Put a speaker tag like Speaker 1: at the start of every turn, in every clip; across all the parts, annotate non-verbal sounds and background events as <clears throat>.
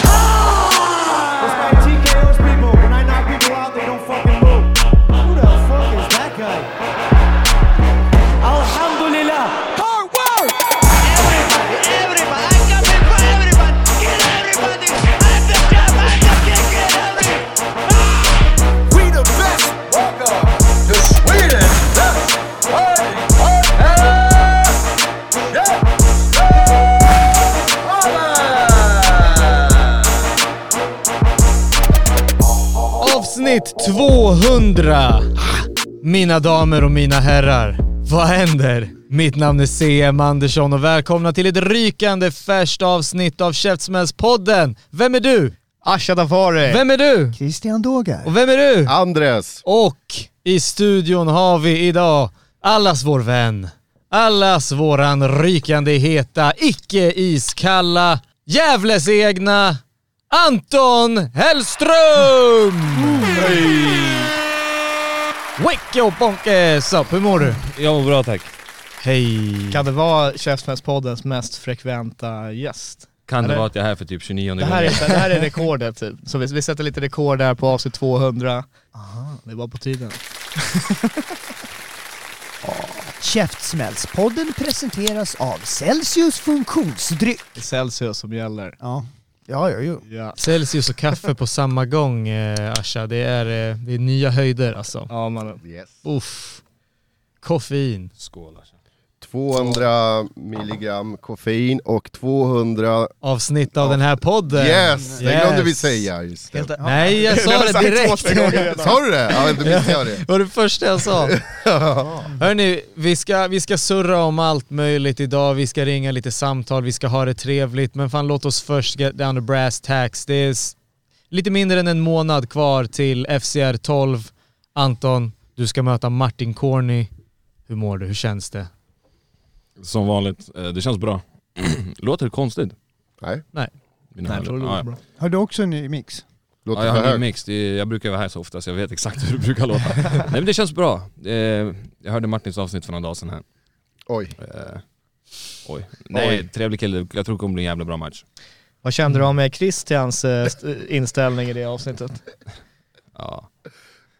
Speaker 1: time!
Speaker 2: Like TKO's people, when I knock people out, they don't fucking move. Who the fuck is that guy?
Speaker 1: Alhamdulillah. Hard work!
Speaker 3: We the best. Welcome. The Sweden. Best. Party. Party. Yeah. Holla!
Speaker 4: Avsnitt 200! Mina damer och mina herrar, vad händer? Mitt namn är CM Andersson och välkomna till ett rykande färskt avsnitt av Käftsmällspodden. Vem är du?
Speaker 5: Asha Dafari.
Speaker 4: Eh, Vem är du?
Speaker 6: Christian Dogar.
Speaker 4: Och vem är du?
Speaker 5: Andres.
Speaker 4: Och i studion har vi idag allas vår vän, allas våran rykande heta, icke iskalla, Gävles egna Anton Hellström! Wicke och Bonke Sopp, hur mår du?
Speaker 7: Jag mår bra tack.
Speaker 4: Hej!
Speaker 5: Kan det vara Käftsmällspoddens mest frekventa gäst?
Speaker 7: Kan det
Speaker 5: Eller-
Speaker 7: vara att jag är här för typ 29
Speaker 5: Det här är, det här är rekordet typ. Så vi, vi sätter lite rekord där på avsnitt 200. Aha, det var på tiden.
Speaker 6: Käftsmällspodden presenteras av Celsius funktionsdryck.
Speaker 5: Det är Celsius som gäller.
Speaker 6: Ja, ja, ja, ja.
Speaker 5: Ja.
Speaker 4: Celsius och kaffe på samma gång eh, Asha, det är, eh, det är nya höjder alltså.
Speaker 5: Ja mannen.
Speaker 4: Uff. Koffein.
Speaker 7: Skål alltså.
Speaker 8: 200 milligram koffein och 200...
Speaker 4: Avsnitt av den här podden.
Speaker 8: Yes! Det glömde vi säga just det.
Speaker 4: Nej, jag sa det direkt.
Speaker 8: <laughs> Sa du det? Ja, då missade jag det.
Speaker 4: Det var det första jag
Speaker 8: <laughs>
Speaker 4: sa. Hörni, vi ska, vi ska surra om allt möjligt idag, vi ska ringa lite samtal, vi ska ha det trevligt, men fan låt oss först get down to brass tacks. Det är s- lite mindre än en månad kvar till FCR 12. Anton, du ska möta Martin Corny. Hur mår du? Hhur känns det?
Speaker 7: Som vanligt, eh, det känns bra. <clears throat> Låter det konstigt?
Speaker 8: Nej,
Speaker 7: Mina
Speaker 4: Nej,
Speaker 7: herrar.
Speaker 4: det
Speaker 7: ja, ja.
Speaker 6: Har du också en ny mix?
Speaker 8: låter
Speaker 7: ja, jag
Speaker 8: för
Speaker 7: har en
Speaker 8: högt.
Speaker 7: mix. Det är- Jag brukar vara här så ofta så jag vet exakt <laughs> hur det brukar låta. Nej men det känns bra. Eh, Jag hörde Martins avsnitt för några dagar sedan här.
Speaker 8: Oj.
Speaker 7: Eh, Oj. Nej, trevlig kille. Jag tror det kommer bli en jävla bra match.
Speaker 5: Vad kände du om eh, Christians eh, st- inställning i det avsnittet?
Speaker 7: Ja.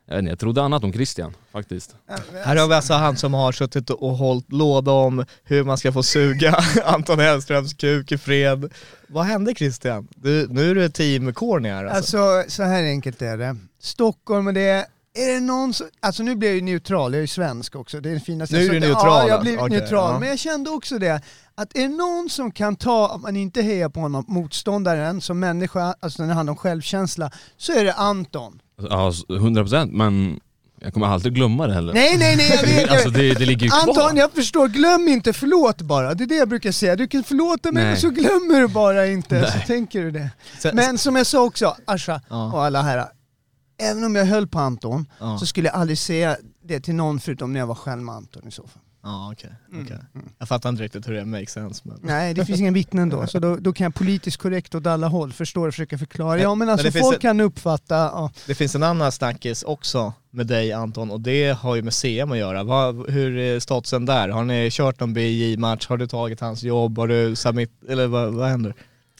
Speaker 7: Jag vet inte, jag trodde annat om Christian faktiskt.
Speaker 5: Här har vi alltså han som har suttit och hållit låda om hur man ska få suga <laughs> Anton Hellströms kuk i fred. Vad hände Christian? Du, nu är du team Corny här alltså.
Speaker 6: Alltså så här enkelt är det. Stockholm och det är... Är det någon som... Alltså nu blir jag ju neutral, jag är ju svensk också. Det är det finaste.
Speaker 5: Nu är
Speaker 6: Så
Speaker 5: du
Speaker 6: det-
Speaker 5: neutral,
Speaker 6: Ja, jag
Speaker 5: alltså.
Speaker 6: blir
Speaker 5: Okej,
Speaker 6: neutral.
Speaker 5: ja.
Speaker 6: Men jag kände också det, att är det någon som kan ta, om man inte hejar på honom, motståndaren som människa, alltså när det handlar om självkänsla, så är det
Speaker 5: <laughs>
Speaker 6: Anton.
Speaker 7: Ja, s- 100% men jag kommer aldrig glömma det heller.
Speaker 6: Nej, nej, nej, jag vet
Speaker 7: Alltså det, det ligger ju kvar.
Speaker 6: Anton, jag förstår. Glöm inte förlåt bara. Det är det jag brukar säga. Du kan förlåta mig,
Speaker 7: Nej.
Speaker 6: men så glömmer du bara inte. Så
Speaker 7: Nej.
Speaker 6: tänker du det.
Speaker 5: Sen-
Speaker 6: Men som jag sa också, Asha
Speaker 5: Ja.
Speaker 6: och alla herrar. Även om jag höll på Anton,
Speaker 5: Ja.
Speaker 6: så skulle jag aldrig säga det till någon förutom när jag var själv med Anton i så fall.
Speaker 5: Ja okej, okej. Mm. Jag fattar inte riktigt hur det makes sense men...
Speaker 6: Nej, det finns ingen vittnen då, så då, då kan jag politiskt korrekt åt alla håll förstå och försöka förklara. Ja, men
Speaker 5: Men
Speaker 6: alltså
Speaker 5: det finns
Speaker 6: folk
Speaker 5: ett-
Speaker 6: kan uppfatta... Ja.
Speaker 5: Det finns en annan snackis också med dig Anton och det har ju med CM att göra. Vad- hur är statusen där? Har ni kört någon BJ-match? Har du tagit hans jobb? Har du submit, eller vad, vad händer?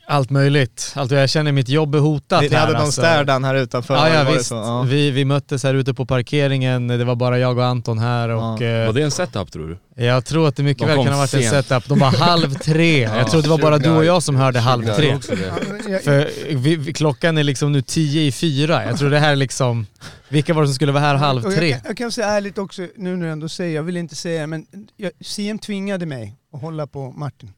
Speaker 4: Allt möjligt. Allt jag känner mitt jobb är hotat
Speaker 5: Ni, ni
Speaker 4: här
Speaker 5: hade någon
Speaker 4: alltså.
Speaker 5: städan här utanför?
Speaker 4: Ja, ja
Speaker 5: var det
Speaker 4: visst.
Speaker 5: så? Ja.
Speaker 4: Vi, vi möttes här ute på parkeringen, det var bara jag och Anton här och
Speaker 5: Ja.
Speaker 4: eh,
Speaker 7: Var det en setup tror du?
Speaker 4: jag tror att det mycket
Speaker 7: De
Speaker 4: väl
Speaker 7: kom
Speaker 4: kan ha varit en
Speaker 7: sent.
Speaker 4: setup. De var halv
Speaker 7: <laughs>
Speaker 4: tre. Jag tror det var bara du och jag som hörde halv
Speaker 8: Jag
Speaker 4: tre.
Speaker 8: tror
Speaker 7: också det.
Speaker 6: Jag,
Speaker 4: För vi, vi- klockan är liksom nu tio i fyra. Jag tror det här är liksom... Vilka var det som skulle vara här halv
Speaker 6: Och
Speaker 4: tre?
Speaker 6: Jag, jag kan säga ärligt också, nu när jag ändå säger, jag vill inte säga det, men jag, CM tvingade mig att hålla på Martin.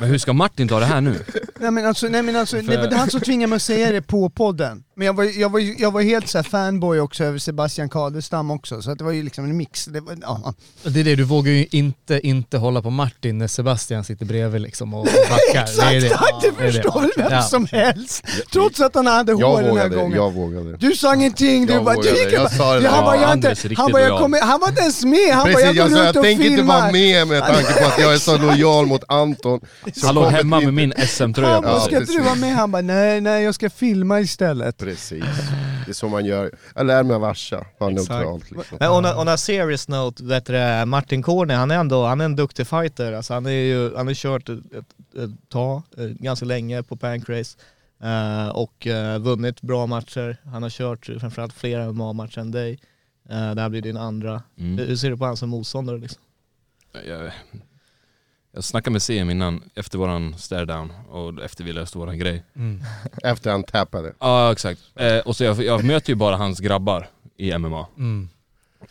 Speaker 7: Men hur ska Martin ta det här nu?
Speaker 6: Nej men alltså, nej, men alltså nej, men det är han som tvingade mig att säga det på podden. Men jag var, jag var, ju- jag var helt så här fanboy också över Sebastian Kadestam också, så att det var ju liksom en mix. Det var, ja.
Speaker 4: Det är det, du vågar ju inte inte hålla på Martin när Sebastian sitter bredvid liksom och och backar.
Speaker 6: <laughs>
Speaker 4: det är det.
Speaker 6: Exakt, det
Speaker 4: är
Speaker 6: förstår väl vem
Speaker 4: Ja.
Speaker 6: som helst! Trots att han hade hår
Speaker 8: Jag
Speaker 6: den här
Speaker 8: vågade,
Speaker 6: gången.
Speaker 8: jag vågade.
Speaker 6: Du sa ingenting, du
Speaker 8: Jag
Speaker 6: bara, du
Speaker 8: vågade,
Speaker 6: gick
Speaker 8: jag sa det
Speaker 6: Ja,
Speaker 8: där.
Speaker 6: han bara,
Speaker 7: Ja,
Speaker 6: jag inte,
Speaker 7: Anders,
Speaker 6: han
Speaker 7: riktigt
Speaker 6: bara, jag
Speaker 7: bra.
Speaker 6: kommer, han var inte ens med, han
Speaker 8: Precis,
Speaker 6: bara, jag
Speaker 8: jag,
Speaker 6: går
Speaker 8: sa,
Speaker 6: runt
Speaker 8: jag
Speaker 6: och
Speaker 8: tänker inte vara
Speaker 6: filmar.
Speaker 8: med med tanke på att jag är så lojal mot Anton. Så
Speaker 7: Hallå
Speaker 8: kommer typ
Speaker 7: hemma
Speaker 8: inte-
Speaker 7: med min
Speaker 6: Han
Speaker 7: SM-tröja på.
Speaker 6: bara,
Speaker 8: Ja,
Speaker 6: ska inte du
Speaker 8: precis.
Speaker 6: vara med? Han bara, nej, nej, jag ska filma istället.
Speaker 8: Precis. Det är så man gör. Jag lär mig av Asha, vara
Speaker 5: Exakt.
Speaker 8: neutralt liksom.
Speaker 5: Men on a, on a serious note, vet du, det, Martin Korne, han är ändå han är en duktig fighter. Alltså, han, är ju, han har kört ett, ett, ett tag, eh, ganska länge på Pancrase eh, och eh, vunnit bra matcher. Han har kört framförallt flera MMA-matcher än dig. Eh, det här blir din andra.
Speaker 7: Mm.
Speaker 5: Hur- Hur ser du på honom som motståndare? Liksom?
Speaker 7: Jag, jag snackade med CM innan, efter våran stare down och efter vi löste våran grej.
Speaker 4: Mm,
Speaker 8: Efter han tappade.
Speaker 7: Ja exakt. Eh, och så jag, jag möter ju bara hans grabbar i MMA.
Speaker 4: mm,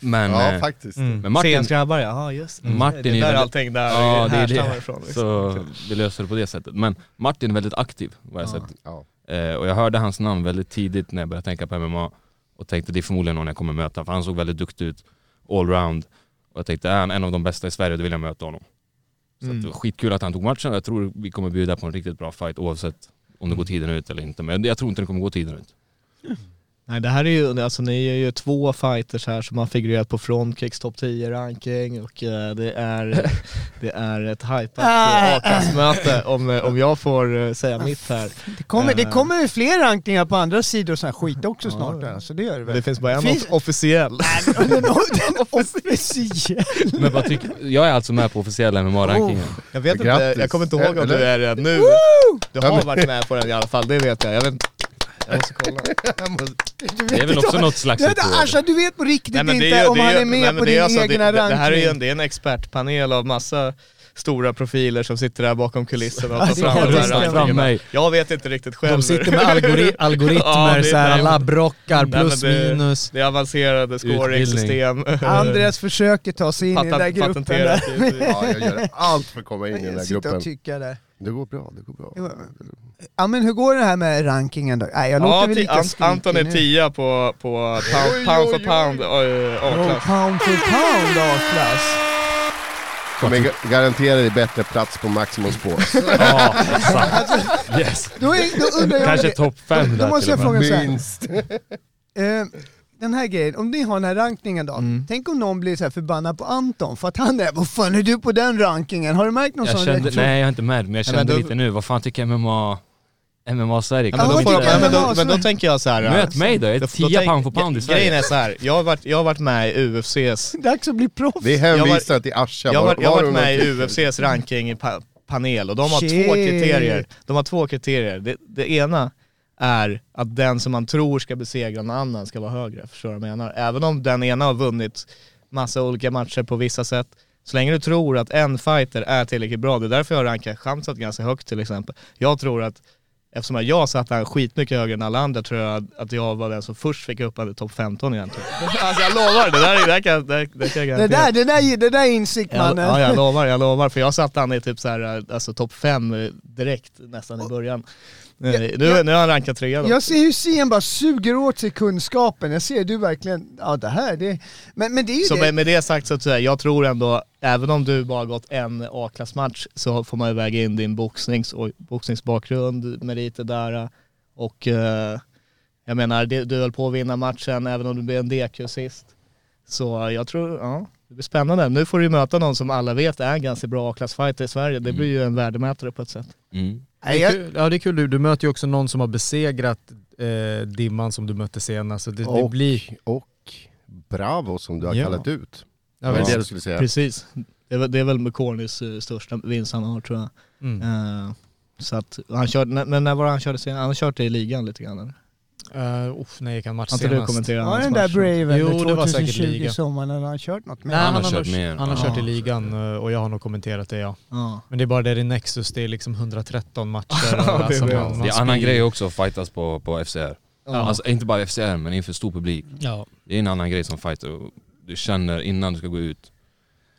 Speaker 7: Men,
Speaker 8: Ja
Speaker 7: eh,
Speaker 8: faktiskt.
Speaker 7: men
Speaker 5: Martin.
Speaker 7: Martin, Mm.
Speaker 5: grabbar ja, ah, just det.
Speaker 7: Martin
Speaker 5: det
Speaker 7: är
Speaker 5: är där
Speaker 7: väldigt-
Speaker 5: allting där
Speaker 7: Ja, det är det.
Speaker 5: härstammar ifrån. Liksom.
Speaker 7: så vi löser det på det sättet. Men Martin är väldigt aktiv vad jag sett.
Speaker 8: Ja.
Speaker 7: Eh, och jag hörde hans namn väldigt tidigt när jag började tänka på MMA och tänkte det är förmodligen någon jag kommer möta för han såg väldigt duktig ut allround. Och jag tänkte är han en av de bästa i Sverige då vill jag möta honom. Så
Speaker 5: Mm.
Speaker 7: att det var skitkul att han tog matchen och jag tror vi kommer bjuda på en riktigt bra fight oavsett om
Speaker 5: Mm.
Speaker 7: det går tiden ut eller inte. Men jag tror inte det kommer gå tiden ut.
Speaker 5: Nej det här är ju, alltså ni är ju två fighters här som har figurerat på Frontkicks topp 10 ranking och eh, det
Speaker 4: <laughs>
Speaker 5: är, det är ett hajpat
Speaker 6: Ah.
Speaker 5: eh, A-klassmöte om, eh, om jag får eh, säga mitt här.
Speaker 6: Det kommer, det
Speaker 5: Eh.
Speaker 6: kommer ju fler rankningar på andra sidor och sån här skit också snart här, så det gör det
Speaker 5: Men
Speaker 6: väl.
Speaker 5: det finns bara en
Speaker 6: Finns-
Speaker 5: off- officiell.
Speaker 6: Den,
Speaker 8: <laughs>
Speaker 6: den, den officiella.
Speaker 7: Men vad tycker, jag är alltså med på officiella MMA-rankingen.
Speaker 5: Jag vet inte,
Speaker 8: Grattis.
Speaker 5: jag kommer inte ihåg om du är det nu. Du
Speaker 8: Ja,
Speaker 5: har
Speaker 8: men-
Speaker 5: varit med på den i alla fall, det vet jag. Jag, vet, inte- jag måste kolla.
Speaker 7: Det är väl också något slags
Speaker 6: Det, det,
Speaker 7: rekord.
Speaker 6: alltså, du vet på riktigt
Speaker 5: Nej, men
Speaker 6: inte
Speaker 5: det ju-
Speaker 6: om
Speaker 5: det
Speaker 6: han
Speaker 5: ju-
Speaker 6: är med
Speaker 5: nej, men
Speaker 6: på
Speaker 5: det
Speaker 6: din
Speaker 5: alltså- det-
Speaker 6: egna
Speaker 5: det, det här är ju en,
Speaker 6: ranking.
Speaker 5: det är en expertpanel av massa stora profiler som sitter där bakom kulisserna och
Speaker 6: Ja,
Speaker 5: tar
Speaker 6: det
Speaker 5: fram
Speaker 6: kan
Speaker 5: de
Speaker 6: jag
Speaker 5: här
Speaker 6: tänka mig.
Speaker 5: rankningarna.
Speaker 7: mig.
Speaker 5: Jag vet inte riktigt själv.
Speaker 4: De sitter med algori- algoritmer,
Speaker 5: <laughs> Ja, det-
Speaker 4: så här,
Speaker 5: nej, men-
Speaker 4: labbrockar,
Speaker 5: Nej, men
Speaker 4: plus
Speaker 5: det-
Speaker 4: minus.
Speaker 5: Det är avancerade scoring-system.
Speaker 6: Andreas försöker ta sig in i den där
Speaker 5: Patent-
Speaker 6: gruppen
Speaker 5: <laughs> patenterat.
Speaker 6: där.
Speaker 8: Ja, jag gör allt för att komma in i den där
Speaker 6: Sitta
Speaker 8: gruppen.
Speaker 6: och tycka där.
Speaker 8: Det går bra, det går bra.
Speaker 6: Jo, Ja men hur går det här med rankingen då? Nej jag låter
Speaker 5: Ja,
Speaker 6: väl
Speaker 5: ti-
Speaker 6: lika
Speaker 5: Ant-
Speaker 6: skrikig
Speaker 5: Anton är
Speaker 6: nu.
Speaker 5: 10 på, på pound, pound for pound eh,
Speaker 6: Oh,
Speaker 5: A-klass.
Speaker 6: pound for pound A-klass.
Speaker 8: Kommer ga- garantera dig bättre plats på Maximum Sports.
Speaker 7: Ja, exakt. Yes.
Speaker 6: Då, är, då undrar jag...
Speaker 7: Kanske topp fem
Speaker 6: Då
Speaker 7: där
Speaker 6: måste
Speaker 7: till och
Speaker 6: jag
Speaker 7: med.
Speaker 6: fråga så här.
Speaker 8: Minst.
Speaker 6: Eh, den här grejen, om ni har den här rankningen då.
Speaker 5: Mm.
Speaker 6: Tänk om någon blir så här förbannad på Anton för att han är Vad fan är du på den rankingen? Har du märkt någon
Speaker 7: Jag
Speaker 6: sån
Speaker 7: kände,
Speaker 6: reaktion?
Speaker 7: nej jag är inte med men jag
Speaker 5: Nej, men
Speaker 7: kände
Speaker 5: då-
Speaker 7: lite nu, vad fan tycker MMA, MMA Sverige?
Speaker 5: Ja, men,
Speaker 7: Kan
Speaker 5: då
Speaker 7: de
Speaker 5: får de,
Speaker 7: inte-
Speaker 5: nej, men, då,
Speaker 6: Ja,
Speaker 5: men då
Speaker 6: så-
Speaker 5: tänker jag så här.
Speaker 7: Möt mig då, jag
Speaker 5: då-
Speaker 7: är
Speaker 5: då tänk-
Speaker 7: 10 pound for pound i
Speaker 5: Grejen
Speaker 7: Sverige.
Speaker 5: är så här. jag har varit, jag har varit med i UFCs
Speaker 6: Dags att bli proffs.
Speaker 8: Vi
Speaker 5: Jag
Speaker 8: hänvisar till Asha.
Speaker 5: Jag har
Speaker 8: Var-
Speaker 5: varit, jag har
Speaker 8: var
Speaker 5: varit
Speaker 8: du
Speaker 5: med i
Speaker 8: någon-
Speaker 5: UFCs rankingpanel och de har
Speaker 6: Shit.
Speaker 5: två kriterier. De har två kriterier. Det, det ena är att den som man tror ska besegra någon annan ska vara högre. Förstår du vad jag menar? Även om den ena har vunnit massa olika matcher på vissa sätt. Så länge du tror att en fighter är tillräckligt bra, det är därför jag rankar Khamzat ganska högt till exempel. Jag tror att, eftersom jag satt han skitmycket högre än alla andra, tror jag att jag var den som först fick upp han i topp 15 egentligen. <laughs> alltså jag lovar, det där, det där kan jag- det, det kan jag
Speaker 6: Det
Speaker 5: garantera.
Speaker 6: där, det där, det där är insikt
Speaker 5: Jag,
Speaker 6: mannen.
Speaker 5: ja, jag lovar, jag lovar. För jag satte han i typ så här, alltså topp fem eh, direkt nästan i början. Eh, nu, nu har han rankat trea då.
Speaker 6: Jag ser hur Sien bara suger åt sig kunskapen. Jag ser du verkligen, ja det här det... Men, men det är ju
Speaker 5: så
Speaker 6: det.
Speaker 5: med, med det sagt så tror jag, jag tror ändå, även om du bara gått en A-klassmatch så får man ju väga in din boxnings och boxningsbakgrund, meriter där och eh, jag menar, det, du höll på att vinna matchen även om du blev en DQ sist. Så jag tror, ja, det blir spännande. Nu får du ju möta någon som alla vet är en ganska bra A-klassfighter i Sverige. Det blir ju en värdemätare på ett sätt.
Speaker 7: Mm.
Speaker 4: Det
Speaker 6: Nej,
Speaker 4: är
Speaker 6: jag,
Speaker 4: kul, ja det är kul, du, du möter ju också någon som har besegrat eh, dimman som du mötte senast. Så det, det
Speaker 8: Och,
Speaker 4: blir...
Speaker 8: och Bravo som du har
Speaker 4: Ja.
Speaker 8: kallat ut.
Speaker 4: Ja,
Speaker 8: Det var
Speaker 4: visst.
Speaker 8: det du skulle säga.
Speaker 5: Precis. Det är, väl- det är väl McCorneys eh, största vinst han har tror jag.
Speaker 4: Mm.
Speaker 5: Eh, så att han körde, när- men när var det han körde senast? Han har kört det i ligan lite grann eller?
Speaker 4: Uh, uff, nej, jag kan match
Speaker 5: Har inte du
Speaker 4: senast.
Speaker 5: kommenterat
Speaker 6: var
Speaker 5: hans
Speaker 6: den där
Speaker 5: match?
Speaker 6: Braven
Speaker 4: Jo,
Speaker 6: med
Speaker 4: det var säkert
Speaker 6: 2020
Speaker 4: liga.
Speaker 6: sommaren när han kört något med?
Speaker 4: Nej,
Speaker 7: Han
Speaker 4: han,
Speaker 7: har
Speaker 4: har
Speaker 7: kört mer.
Speaker 4: han har
Speaker 5: Ja.
Speaker 4: kört i ligan eh, och jag har nog kommenterat det ja.
Speaker 5: Ja.
Speaker 4: Men det är bara det i Nexus, det är liksom 113 matcher. och
Speaker 5: det är
Speaker 4: man-
Speaker 5: bra.
Speaker 4: man
Speaker 7: Det är annan
Speaker 4: spyr.
Speaker 7: grej också att fightas på, på FCR. Alltså inte bara FCR men inför stor publik.
Speaker 4: Ja.
Speaker 7: Det är en annan grej som fighter. och Du känner innan du ska gå ut.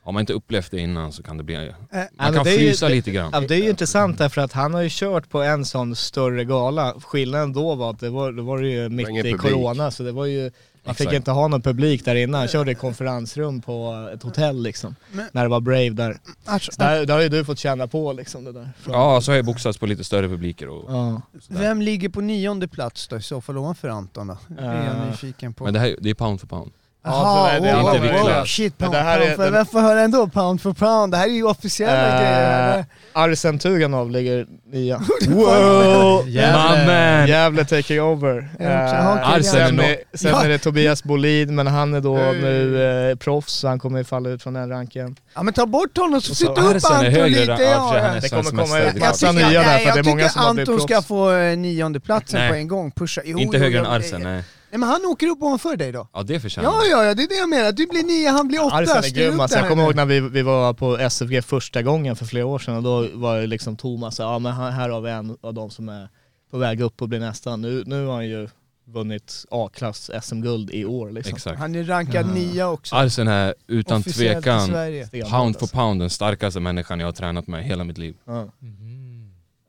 Speaker 7: Har man inte upplevt det innan så kan det bli...
Speaker 5: men
Speaker 7: Man kan
Speaker 5: det är ju-
Speaker 7: frysa lite
Speaker 5: Ja,
Speaker 7: grann.
Speaker 5: det är ju intressant därför att han har ju kört på en sån större gala. Skillnaden då var att det var, då var det ju mitt i
Speaker 8: ingen publik.
Speaker 5: corona så det var ju, man fick
Speaker 7: Exakt.
Speaker 5: inte ha någon publik där innan. Han körde i konferensrum på ett hotell liksom.
Speaker 6: Men-
Speaker 5: När det var Brave där.
Speaker 6: Alltså,
Speaker 5: Så där, där har ju du fått känna på liksom det där. Från-
Speaker 7: Ja, så har jag boxats på lite större publiker och
Speaker 5: Ja.
Speaker 6: Vem ligger på nionde plats då i så fall ovanför Anton då? Det är jag nyfiken på.
Speaker 7: Men det här det är pound för pound.
Speaker 5: Eh, Ja, det- det är
Speaker 7: inte viktigt.
Speaker 6: shit,
Speaker 5: Men
Speaker 6: pound,
Speaker 5: det här
Speaker 6: pound
Speaker 5: är-
Speaker 6: för, vem får höra ändå pound for pound? Det här är ju officiella grejer.
Speaker 5: Eh,
Speaker 6: eller?
Speaker 5: Arsen Tuganov ligger
Speaker 6: <laughs>
Speaker 5: nia. wow!
Speaker 7: Mannen!
Speaker 5: Jävla taking over.
Speaker 6: Är det också-
Speaker 5: Eh,
Speaker 6: ja, okej,
Speaker 7: Arsen
Speaker 5: Sen,
Speaker 7: är
Speaker 5: är, sen
Speaker 6: Ja.
Speaker 5: är det Tobias Bolin, men han är då
Speaker 6: Hey.
Speaker 5: nu eh, proffs, så han kommer ju falla ut från den ranken.
Speaker 6: Ja men ta bort honom så
Speaker 7: Och
Speaker 6: flytta
Speaker 7: så-
Speaker 6: upp
Speaker 7: Arsen är
Speaker 6: Anton
Speaker 7: högre
Speaker 6: lite.
Speaker 7: än- ja, för sig, han
Speaker 6: Ja.
Speaker 7: är
Speaker 5: Det kommer
Speaker 7: svensk
Speaker 5: komma ut
Speaker 7: mästare.
Speaker 5: massa
Speaker 6: tycker-
Speaker 5: nya där,
Speaker 6: nej,
Speaker 5: för det är
Speaker 6: jag
Speaker 5: många
Speaker 6: tycker
Speaker 5: som har blivit
Speaker 6: Anton ska
Speaker 5: proffs.
Speaker 6: få eh, niondeplatsen
Speaker 7: Nej.
Speaker 6: på en gång. Pusha. Jo,
Speaker 7: Inte
Speaker 6: jo,
Speaker 7: högre än
Speaker 6: jo,
Speaker 7: Arsen,
Speaker 6: Nej
Speaker 7: nej.
Speaker 6: Nej, men han åker upp ovanför dig då.
Speaker 7: Ja det förtjänar
Speaker 6: Ja, ja, ja, det är det jag menar. Du blir nia, han blir åtta.
Speaker 5: Arsen är
Speaker 6: Styr upp
Speaker 5: grym alltså.
Speaker 6: det
Speaker 5: Jag
Speaker 6: här
Speaker 5: kommer
Speaker 6: nu.
Speaker 5: ihåg när vi, vi var på SFG första gången för flera år sedan och då var det liksom Thomas, ja men han- här har vi en av de som är på väg upp och blir nästa. Nu, nu har han ju vunnit A-klass SM-guld i år liksom.
Speaker 7: Exakt.
Speaker 6: Han är rankad nia också.
Speaker 7: Arsen är utan
Speaker 6: officiellt i
Speaker 7: tvekan,
Speaker 6: Sverige.
Speaker 5: Stenhårt,
Speaker 7: pound
Speaker 5: alltså.
Speaker 7: for pound, den starkaste människan jag har tränat med hela mitt liv.
Speaker 5: Ja.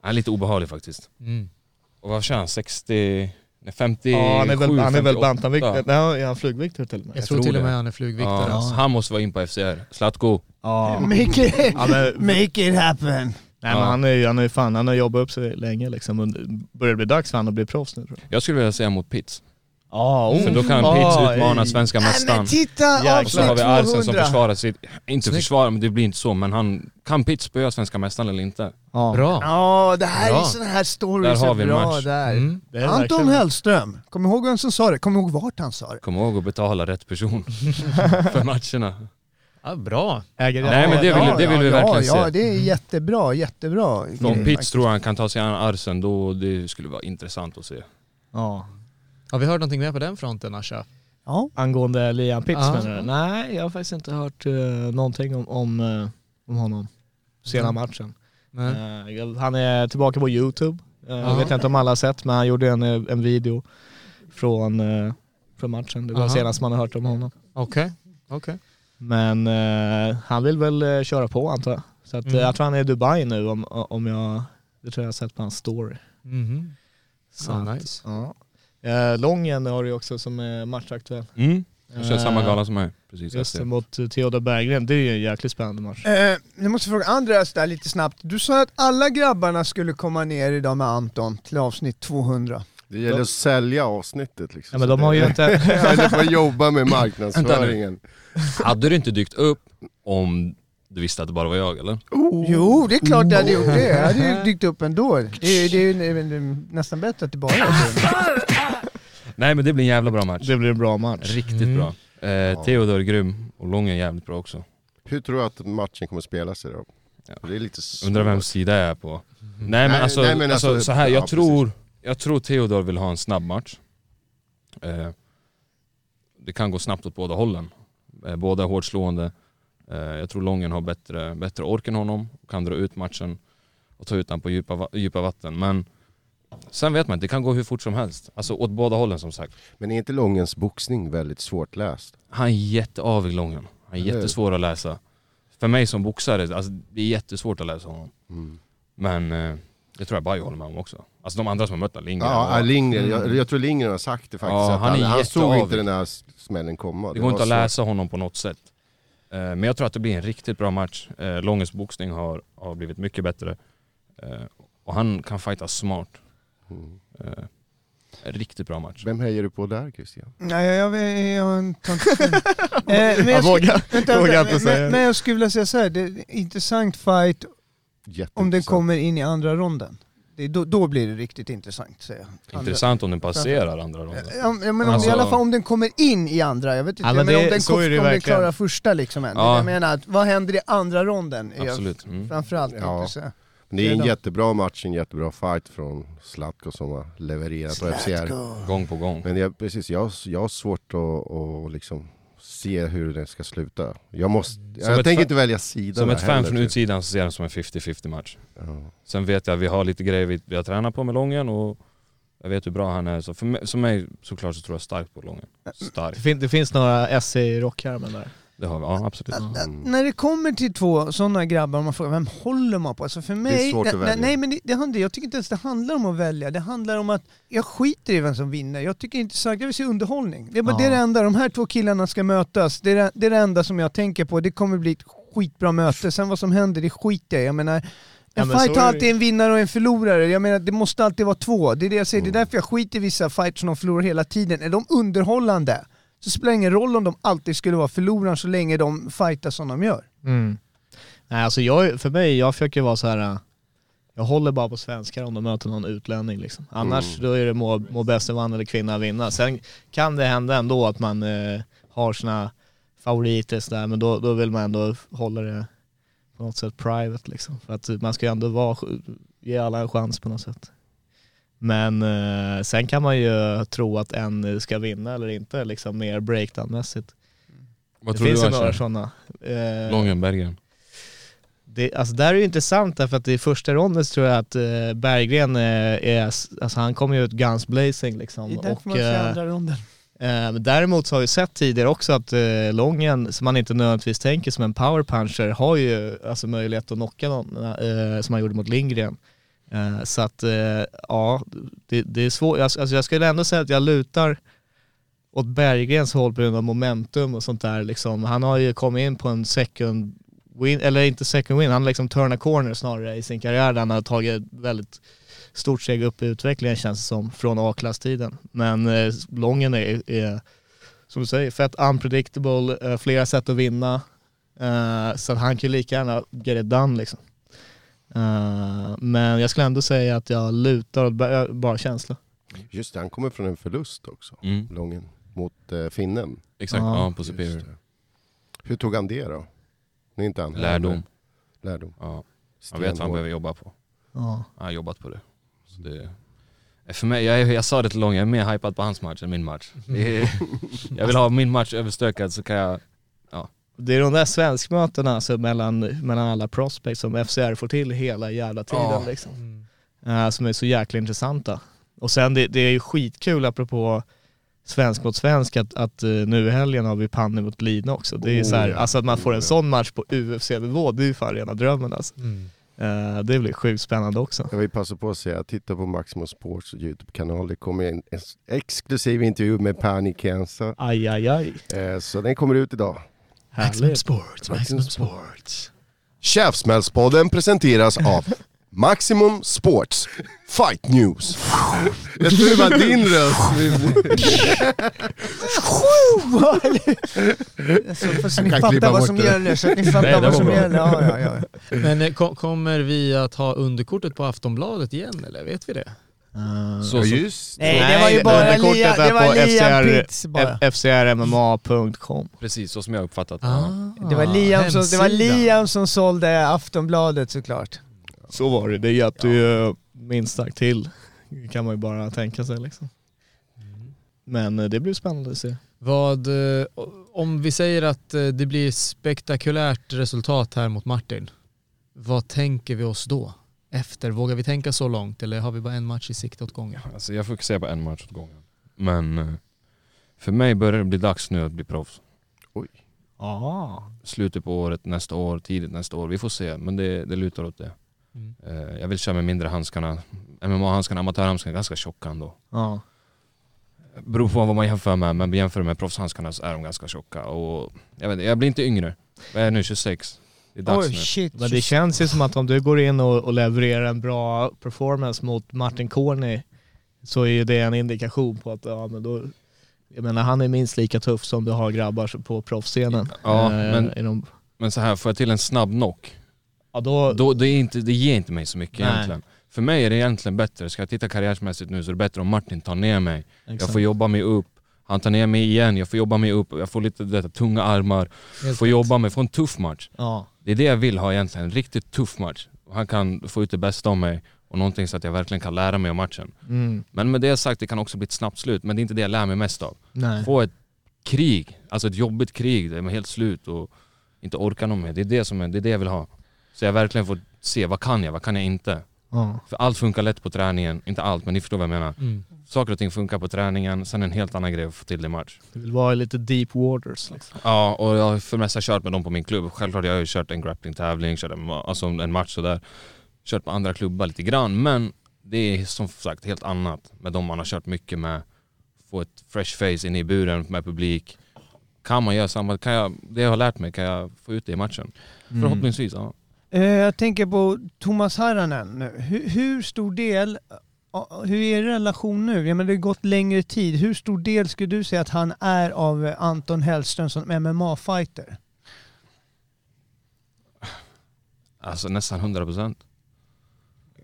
Speaker 7: Han är lite obehaglig faktiskt.
Speaker 4: Mhm. Mm.
Speaker 7: Och vad kör han? 60... Nej 57,
Speaker 5: Ja, han är väl, han är väl
Speaker 7: 58.
Speaker 5: bantamviktare, nej är han flugviktare till och med?
Speaker 4: Jag tror till och
Speaker 7: det.
Speaker 4: med han är alltså. flugviktare.
Speaker 5: alltså.
Speaker 7: Ja, han måste vara in på FCR. Zlatko.
Speaker 5: Ja.
Speaker 6: <laughs> Make it,
Speaker 5: Ja, men, nej
Speaker 6: make it happen. <laughs>
Speaker 5: men
Speaker 7: Ja.
Speaker 5: han är ju, han är ju fan, han har jobbat upp sig länge liksom. och det Börjar bli dags för han att bli proffs nu tror jag. Mm.
Speaker 7: Jag skulle vilja säga mot Pitts.
Speaker 5: Ja,
Speaker 7: För då kan Pitts utmana svenska
Speaker 6: Nej men
Speaker 7: mästaren.
Speaker 6: titta,
Speaker 5: Jäklar.
Speaker 7: Och så har vi Arsen som
Speaker 6: avsnitt 200.
Speaker 7: försvarar sitt... Inte försvarar, men det blir inte så. Men han... Kan Pitts spöa svenska mästaren eller inte?
Speaker 4: Bra.
Speaker 6: Ja, det här är
Speaker 4: Bra.
Speaker 6: sådana här stories
Speaker 7: Där har vi
Speaker 6: är
Speaker 7: en
Speaker 6: bra
Speaker 7: match.
Speaker 6: där.
Speaker 4: Mm.
Speaker 5: Det är
Speaker 6: Anton
Speaker 5: verkligen-
Speaker 6: Hellström, kom ihåg vem som sa det, kom ihåg vart han sa det.
Speaker 7: Kom ihåg att betala rätt
Speaker 5: <laughs>
Speaker 7: person för matcherna.
Speaker 4: Ja, bra.
Speaker 5: Äger
Speaker 7: Nej, men det vill-
Speaker 5: ja,
Speaker 7: det vill
Speaker 5: ja,
Speaker 7: vi
Speaker 5: ja.
Speaker 7: verkligen
Speaker 6: ja, Ja,
Speaker 7: se. Mm.
Speaker 6: det är jättebra, jättebra.
Speaker 7: Om
Speaker 5: Mm.
Speaker 6: grej
Speaker 7: Pitts
Speaker 6: faktiskt.
Speaker 7: tror han kan ta sig an Arsen, då det skulle vara intressant att se.
Speaker 5: Ja.
Speaker 4: Har vi hört någonting mer på den fronten Asha?
Speaker 6: Ja.
Speaker 5: Angående Liam Pitts
Speaker 4: Ja.
Speaker 5: menar du? Nej, jag har faktiskt inte hört eh, någonting om, om, eh, om honom sena
Speaker 4: Mm.
Speaker 5: matchen.
Speaker 4: Nej.
Speaker 5: Eh, jag- han är tillbaka på Youtube. Eh, Jag
Speaker 4: Ja.
Speaker 5: vet inte om alla har sett, men han gjorde en, eh, en video från, eh, från matchen. Det var
Speaker 4: Aha.
Speaker 5: senast man har hört om honom.
Speaker 4: Okej, okej.
Speaker 5: Men eh, han vill väl eh, köra på antar jag. Så att, eh,
Speaker 4: Mm.
Speaker 5: jag tror han är i Dubai nu om, om jag... Det tror jag har sett på hans story.
Speaker 4: Mhm.
Speaker 5: Så
Speaker 4: Ah,
Speaker 5: att-
Speaker 4: nice.
Speaker 5: Ja. Eh, Lången har du också som är matchaktuell.
Speaker 7: Mm. Han kör
Speaker 5: Eh,
Speaker 7: samma gala som mig. Precis.
Speaker 5: Just det,
Speaker 7: efter.
Speaker 5: mot eh, Theodor Berggren. Det är ju en jäkligt spännande match.
Speaker 6: Eh, jag måste fråga Andreas där lite snabbt. Du sa att alla grabbarna skulle komma ner idag med Anton till avsnitt 200.
Speaker 8: Det gäller att sälja avsnittet liksom.
Speaker 5: Ja, men de har ju inte...
Speaker 8: Eller får jobba med marknadsföringen.
Speaker 7: Hade du inte dykt upp om du visste att det bara var jag eller?
Speaker 6: Jo, det är klart jag hade gjort det. Jag hade <laughs> ju dykt upp ändå. Det är, det är, ju nästan bättre att det bara är du.
Speaker 7: Nej men det blir en jävla bra match.
Speaker 5: Det blir en bra match.
Speaker 7: Riktigt
Speaker 4: Mm.
Speaker 7: bra. Eh, Theodor är grym och Lång är jävligt bra också.
Speaker 8: Hur tror du att matchen kommer spelas idag?
Speaker 7: Ja.
Speaker 8: Det är lite svårt.
Speaker 7: Undrar vems sida jag är på. Nej men
Speaker 8: Nej,
Speaker 7: alltså,
Speaker 8: nej, men
Speaker 7: alltså,
Speaker 8: alltså-
Speaker 7: så här,
Speaker 8: ja,
Speaker 7: jag,
Speaker 8: precis.
Speaker 7: tror, jag tror Theodor vill ha en snabb match. Eh, det kan gå snabbt åt båda hållen. Eh, båda är hårt slående. Eh, jag tror Lången har bättre, bättre ork än honom, kan dra ut matchen och ta ut den på djupa, va- djupa vatten. Men sen vet man inte, det kan gå hur fort som helst. Alltså åt båda hållen som sagt.
Speaker 8: Men är inte Långens boxning väldigt svårtläst?
Speaker 7: Han är jätteavig Lången. Han är
Speaker 8: Eller hur?
Speaker 7: jättesvår att läsa. För mig som boxare, alltså, det är jättesvårt att läsa honom.
Speaker 8: Mm.
Speaker 7: Men eh, det tror jag Bajo håller med om också. Alltså de andra som har mött honom, Lindgren
Speaker 8: Ja,
Speaker 7: och-
Speaker 8: Lindgren. Jag, jag tror Lindgren har sagt det faktiskt.
Speaker 7: Ja,
Speaker 8: att
Speaker 7: han är
Speaker 8: han, han såg
Speaker 7: jätteavig.
Speaker 8: inte den här s- smällen komma.
Speaker 7: Det går
Speaker 8: var
Speaker 7: inte att
Speaker 8: så-
Speaker 7: läsa honom på något sätt. Eh, Men jag tror att det blir en riktigt bra match. Eh, Långes boxning har, har blivit mycket bättre. Eh, Och han kan fighta smart.
Speaker 8: Mm.
Speaker 7: Eh, En riktigt bra match.
Speaker 8: Vem hejar du på där Christian?
Speaker 6: Nej, jag, jag, jag, <laughs> Eh, jag, jag,
Speaker 5: Jag
Speaker 6: jag,
Speaker 5: vågar,
Speaker 6: Vänta,
Speaker 5: vågar inte
Speaker 6: vänta, men, men,
Speaker 5: säga.
Speaker 6: men jag skulle vilja säga så här, det är en intressant fight om den
Speaker 8: Jätteintressant.
Speaker 6: kommer in i andra ronden. Det, är då, då blir det riktigt intressant säger jag. Andra-
Speaker 7: Intressant om den passerar andra
Speaker 8: Eh,
Speaker 7: ronden.
Speaker 6: Ja, men om,
Speaker 7: Alltså-
Speaker 6: I alla fall om den kommer in i andra, jag vet inte.
Speaker 5: Ja, men
Speaker 6: men
Speaker 5: det-
Speaker 6: om den,
Speaker 5: så
Speaker 6: kom,
Speaker 5: är det ju
Speaker 6: om den
Speaker 5: verkligen.
Speaker 6: klarar första liksom än.
Speaker 7: Ja.
Speaker 6: Jag menar, att, vad händer i andra ronden? är jag
Speaker 7: Absolut. Mm.
Speaker 6: Framförallt
Speaker 8: Ja.
Speaker 6: tänkte jag
Speaker 8: Men Det är en
Speaker 6: Redan.
Speaker 8: jättebra match, en jättebra fight från Zlatko som har levererat på
Speaker 6: säga.
Speaker 8: FCR.
Speaker 7: Gång på gång.
Speaker 8: Men jag, precis, jag, jag har svårt att, att liksom se hur den ska sluta. Jag, måste, jag
Speaker 7: ett
Speaker 8: tänker
Speaker 7: fa-
Speaker 8: inte välja sida
Speaker 7: Som
Speaker 8: där
Speaker 7: ett fan
Speaker 8: heller,
Speaker 7: från
Speaker 8: typ.
Speaker 7: utsidan så ser jag det som en 50-50 match.
Speaker 8: Ja.
Speaker 7: Sen vet jag att vi har lite grejer vi, vi har tränat på med Lången och jag vet hur bra han är. Så för mig, som mig såklart så tror jag starkt på Lången.
Speaker 5: Det,
Speaker 7: Starkt.
Speaker 5: fin det finns några SC i rockärmen där.
Speaker 7: Det har vi, ja absolut.
Speaker 8: Mm.
Speaker 6: När det kommer till två sådana grabbar, om man frågar vem håller man på? Alltså för mig,
Speaker 8: svårt att
Speaker 6: nej,
Speaker 8: välja.
Speaker 6: nej men det, det handlar, jag tycker inte ens det handlar om att välja. Det handlar om att jag skiter i vem som vinner. Jag tycker inte sagt, jag vill se underhållning. Det är, bara,
Speaker 5: Ja.
Speaker 6: det, är det enda, de här två killarna ska mötas. Det är det, det är det enda som jag tänker på. Det kommer bli ett skitbra möte. Sen vad som händer, det skiter jag i. Jag menar,
Speaker 5: Ja,
Speaker 6: en
Speaker 5: men
Speaker 6: fight
Speaker 5: så är
Speaker 6: har
Speaker 5: det
Speaker 6: alltid
Speaker 5: ju.
Speaker 6: en vinnare och en förlorare. Jag menar, det måste
Speaker 5: Mm.
Speaker 6: alltid vara två. Det är det jag säger, det är därför jag skiter i vissa fights som de förlorar hela tiden. Är de underhållande? så spelar det ingen roll om de alltid skulle vara förloraren så länge de fightar som de gör.
Speaker 5: Mm. Nej, alltså jag, för mig, jag försöker vara så här. äh, jag håller bara på svenskar om de möter någon utlänning liksom. Annars då är det må, må bäste man eller kvinna vinna. Sen kan det hända ändå att man eh, har sina favoriter sådär, men då, då vill man ändå hålla det på något sätt private liksom. För att man ska ju ändå vara, ge alla en chans på något sätt. Men eh, sen kan man ju tro att en ska vinna eller inte liksom mer breakdown-mässigt.
Speaker 7: Vad
Speaker 5: Det
Speaker 7: tror du
Speaker 5: finns ju
Speaker 7: han
Speaker 5: några
Speaker 7: kör?
Speaker 5: sådana. Eh,
Speaker 7: Långenbergen.
Speaker 5: det, alltså där är det ju intressant därför att i första ronden så tror jag att eh, Berggren eh, är, alltså han kommer ju ut guns blazing liksom.
Speaker 6: Det är därför man
Speaker 5: och,
Speaker 6: kör
Speaker 5: eh,
Speaker 6: andra <laughs> ronden.
Speaker 5: eh, men däremot så har jag ju sett tidigare också att eh, Lången, som man inte nödvändigtvis tänker som en power puncher, har ju alltså möjlighet att knocka någon eh, som han gjorde mot Lindgren. Eh, så att eh, ja, det, det är svårt. Alltså, alltså jag skulle ändå säga att jag lutar åt Berggrens håll på grund av momentum och sånt där liksom. Han har ju kommit in på en second win, eller inte second win, han har liksom turn a corner snarare i sin karriär där han har tagit väldigt stort steg upp i utvecklingen känns det som, från A-klasstiden. Men eh, Lången är, är, som du säger, fett unpredictable, eh, flera sätt att vinna. Eh, så att han kan ju lika gärna get it done liksom. Eh, men jag skulle ändå säga att jag lutar åt Ber- bara känsla.
Speaker 8: Just det, han kommer från en förlust också.
Speaker 7: Mm.
Speaker 8: Lången. Mot eh, finnen.
Speaker 7: Exakt,
Speaker 5: Ja,
Speaker 7: ja på Superior.
Speaker 8: Just det. Hur tog han det då? Det är inte han.
Speaker 7: Lärdom.
Speaker 8: Lärdom.
Speaker 7: Ja. Jag vet vad han
Speaker 8: Stenhård.
Speaker 7: behöver jobba på.
Speaker 5: Ja.
Speaker 7: Han har jobbat på det. Så det Eh, för mig, jag, är- jag sa det till Långe, jag är mer hypad på hans match än min match. Det är, jag vill ha min match överstökad så kan jag...
Speaker 5: Det är de där svenskmötena alltså, mellan, mellan alla prospects som FCR får till hela jävla tiden
Speaker 7: Ja.
Speaker 5: liksom.
Speaker 4: Mm.
Speaker 5: Eh, som är så jäkla intressanta. Och sen det, det är ju skitkul apropå svensk mot svensk att, att eh, nu i helgen har vi Panny mot Lina också. Det är ju
Speaker 8: Oh,
Speaker 5: så här,
Speaker 8: ja.
Speaker 5: alltså att man får
Speaker 8: Oh, ja.
Speaker 5: en sån match på UFC-nivå, det är ju fan rena drömmen alltså.
Speaker 4: Mm.
Speaker 5: Eh, det blir sjukt spännande också.
Speaker 8: Jag vill passa på att säga, titta på Maximo Sports YouTube-kanal. Det kommer en ex- exklusiv intervju med Pani Kensa.
Speaker 5: Aj, aj, aj.
Speaker 8: Eh, så den kommer ut idag.
Speaker 5: Härligt.
Speaker 4: Sports,
Speaker 8: Maximum
Speaker 4: Sports.
Speaker 8: Käftsmällspodden presenteras av Maximum Sports Fight News. Jag tror det var din
Speaker 5: <laughs>
Speaker 8: röst.
Speaker 6: Så, fast ni
Speaker 8: kan
Speaker 6: fattar
Speaker 8: klippa
Speaker 6: vad
Speaker 8: bort
Speaker 6: som
Speaker 8: det.
Speaker 6: gäller. Så att ni
Speaker 7: Nej,
Speaker 6: fattar
Speaker 7: det
Speaker 6: vad
Speaker 7: var
Speaker 6: som
Speaker 7: bra.
Speaker 6: gäller. Ja, ja, ja.
Speaker 4: Men eh, ko- kommer vi att ha underkortet på Aftonbladet igen eller vet vi det?
Speaker 5: Eh,
Speaker 7: Så, så,
Speaker 8: just
Speaker 6: Nej, det var ju bara
Speaker 5: underkortet
Speaker 6: Lia,
Speaker 5: är
Speaker 6: det var
Speaker 5: på
Speaker 6: Liam
Speaker 5: FCR
Speaker 6: Pitts bara.
Speaker 5: F- FCRMMA.com.
Speaker 7: precis, så som jag uppfattat ja.
Speaker 4: Ah,
Speaker 6: Det var, Liam som, det var
Speaker 4: hemsidan.
Speaker 6: Liam som sålde Aftonbladet såklart.
Speaker 5: Så var det, det hjälpte ju minst sagt till. kan man ju bara tänka sig liksom.
Speaker 4: Mm.
Speaker 5: Men eh, det blir spännande att se.
Speaker 4: Vad, eh, om vi säger att eh, det blir spektakulärt resultat här mot Martin, vad tänker vi oss då? Efter, vågar vi tänka så långt eller har vi bara en match i sikte åt gången?
Speaker 7: Alltså jag fokuserar på en match åt gången. Men eh, för mig börjar det bli dags nu att bli proffs.
Speaker 5: Ja.
Speaker 7: Slutet på året, nästa år, tidigt nästa år. Vi får se, men det, det lutar åt det.
Speaker 4: Mm.
Speaker 7: Eh, Jag vill köra med mindre handskarna. MMA-handskarna, amatörhandskarna, ganska tjocka ändå.
Speaker 5: ja.
Speaker 7: Beror på vad man jämför med, men jämför med proffshandskarna så är de ganska tjocka. Och jag, vet, inte, jag blir inte yngre. Jag är nu 26. Det är dags
Speaker 6: Oj
Speaker 7: nu.
Speaker 6: shit.
Speaker 5: Men det känns ju som att om du går in och, och levererar en bra performance mot Martin Corny så är ju det en indikation på att ja, men då, jag menar, han är minst lika tuff som du har grabbar på proffsscenen.
Speaker 7: Ja,
Speaker 5: Eh,
Speaker 7: men-
Speaker 5: i de-
Speaker 7: Men så här, får jag till en snabb knock,
Speaker 5: ja, då,
Speaker 7: då, det, är inte, det ger inte mig så mycket
Speaker 5: Nej.
Speaker 7: egentligen. För mig är det egentligen bättre, ska jag titta karriärmässigt nu så är det bättre om Martin tar ner mig. Jag
Speaker 5: exakt.
Speaker 7: får jobba mig upp, han tar ner mig igen, jag får jobba mig upp, jag får lite detta, tunga armar,
Speaker 4: Helt
Speaker 7: får
Speaker 4: rätt.
Speaker 7: jobba mig, får en tuff match.
Speaker 5: ja.
Speaker 7: Det är det jag vill ha egentligen, en riktigt tuff match. Han kan få ut det bästa av mig och någonting så att jag verkligen kan lära mig om matchen.
Speaker 5: Mm.
Speaker 7: Men med det sagt, det kan också bli ett snabbt slut, men det är inte det jag lär mig mest av.
Speaker 5: Nej.
Speaker 7: Få ett krig, alltså ett jobbigt krig där man är helt slut och inte orkar någon mer. Det är det, som är, det är det jag vill ha. Så jag verkligen får se, vad kan jag, vad kan jag inte?
Speaker 5: Ja.
Speaker 7: För allt funkar lätt på träningen, inte allt men ni förstår vad jag menar.
Speaker 4: Mm.
Speaker 7: Saker och ting funkar på träningen, sen en helt annan grej att få till i match.
Speaker 5: Du vill vara i lite deep waters liksom.
Speaker 7: Ja, och jag har för det mesta kört med dem på min klubb. Självklart jag har jag kört en grappling-tävling, kört en, alltså en match sådär. Kört på andra klubbar lite grann, men det är som sagt helt annat med dem man har kört mycket med. Få ett fresh face inne i buren med publik. Kan man göra samma, kan jag, det jag har lärt mig, kan jag få ut det i matchen? Förhoppningsvis, ja.
Speaker 6: Eh, Jag tänker på Thomas Haranen nu. Hur, hur stor del ja, hur är er relation nu? Ja, men det har gått längre tid. Hur stor del skulle du säga att han är av eh, Anton Hellström som MMA-fighter?
Speaker 7: Alltså nästan 100%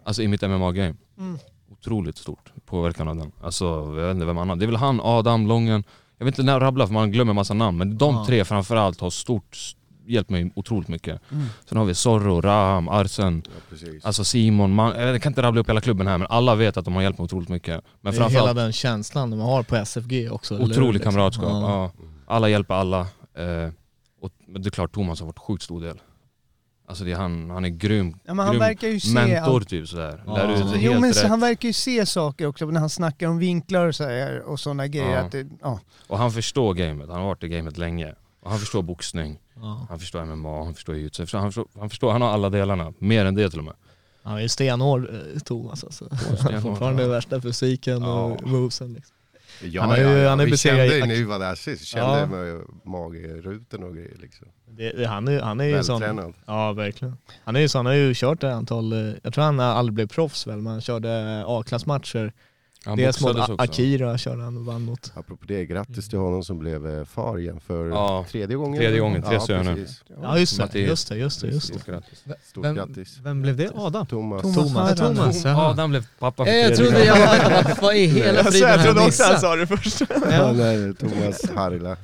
Speaker 7: Alltså i mitt MMA-game
Speaker 6: Mm.
Speaker 7: Otroligt stort påverkan av den Alltså jag vet inte vem annan Det är väl han, Adam, Lången Jag vet inte när jag rabblar för man glömmer massa namn Men de
Speaker 6: Ja.
Speaker 7: tre framförallt har stort Hjälpt mig otroligt mycket
Speaker 6: Mm.
Speaker 7: Sen har vi Zorro, Raham, Arsen
Speaker 8: precis.
Speaker 7: Alltså Simon, man, jag kan inte rabbla upp hela klubben här men alla vet att de har hjälpt mig otroligt mycket Men
Speaker 5: Det är hela
Speaker 7: framförallt
Speaker 5: den känslan man har på SFG också. eller hur?
Speaker 7: otroligt
Speaker 5: Liksom.
Speaker 7: kamratskap
Speaker 5: Ja.
Speaker 7: ja. Alla hjälper alla eh, och, men Det är klart Thomas har varit sjukt stor del Alltså det är han, han är grym
Speaker 6: Ja, men han
Speaker 7: Grym
Speaker 6: verkar ju se...
Speaker 7: mentor
Speaker 6: allt-
Speaker 7: typ sådär.
Speaker 5: Ja.
Speaker 7: Lär ut det
Speaker 6: Jo,
Speaker 7: helt
Speaker 6: men
Speaker 7: rätt.
Speaker 6: så han verkar ju se saker också när han snackar om vinklar och så här, och sådana grejer.
Speaker 7: Ja.
Speaker 6: Att det, ja.
Speaker 7: Och han förstår gamet, han har varit i gamet länge. Och han förstår boxning,
Speaker 5: Ja.
Speaker 7: han förstår MMA, han förstår jujutsu, han förstår, han, förstår, han förstår, han har alla delarna. Mer än det till och med.
Speaker 5: Han är ju stenhård eh, Thomas alltså. Han har
Speaker 7: stenhård,
Speaker 5: fortfarande
Speaker 7: ja.
Speaker 5: värsta fysiken
Speaker 8: Ja.
Speaker 5: och movesen liksom.
Speaker 8: Ja,
Speaker 5: Han har ju-
Speaker 8: ja, ja.
Speaker 5: han har ju
Speaker 8: vi
Speaker 5: besegrat-
Speaker 8: kände ju när vi var där sist, kände
Speaker 5: Ja.
Speaker 8: med magrutorna och grejer liksom.
Speaker 5: Det, det- han är, han är ju sån.
Speaker 8: Vältränad.
Speaker 5: Ja verkligen. Han är ju sån, han har ju kört ett antal, eh, jag tror han aldrig blev proffs väl, men han körde eh, A-klassmatcher.
Speaker 7: Han
Speaker 5: Dels mot
Speaker 7: boxades
Speaker 5: A- Akira körde han och vann mot.
Speaker 8: Apropå det, grattis till honom som blev eh, far igen för
Speaker 7: Ja.
Speaker 8: tredje gången.
Speaker 7: Tredje gången, tre söner.
Speaker 8: precis.
Speaker 5: Ja just det,
Speaker 7: Mattias.
Speaker 5: just det, just det. Just det.
Speaker 7: Stort grattis.
Speaker 8: Stort
Speaker 4: Vem-
Speaker 8: grattis.
Speaker 4: Vem blev det? Adam?
Speaker 8: Thomas.
Speaker 5: Thomas.
Speaker 6: Harald.
Speaker 4: Thomas, jaha.
Speaker 7: Adam blev pappa för
Speaker 4: Eh, jag
Speaker 7: tredje
Speaker 4: trodde
Speaker 7: gången.
Speaker 4: jag hade... Vad i hela
Speaker 5: Alltså,
Speaker 4: friden
Speaker 5: jag
Speaker 4: har
Speaker 5: trodde
Speaker 4: jag
Speaker 5: också han
Speaker 4: missat?
Speaker 5: sa det först.
Speaker 8: Ja, nej, Thomas Harila.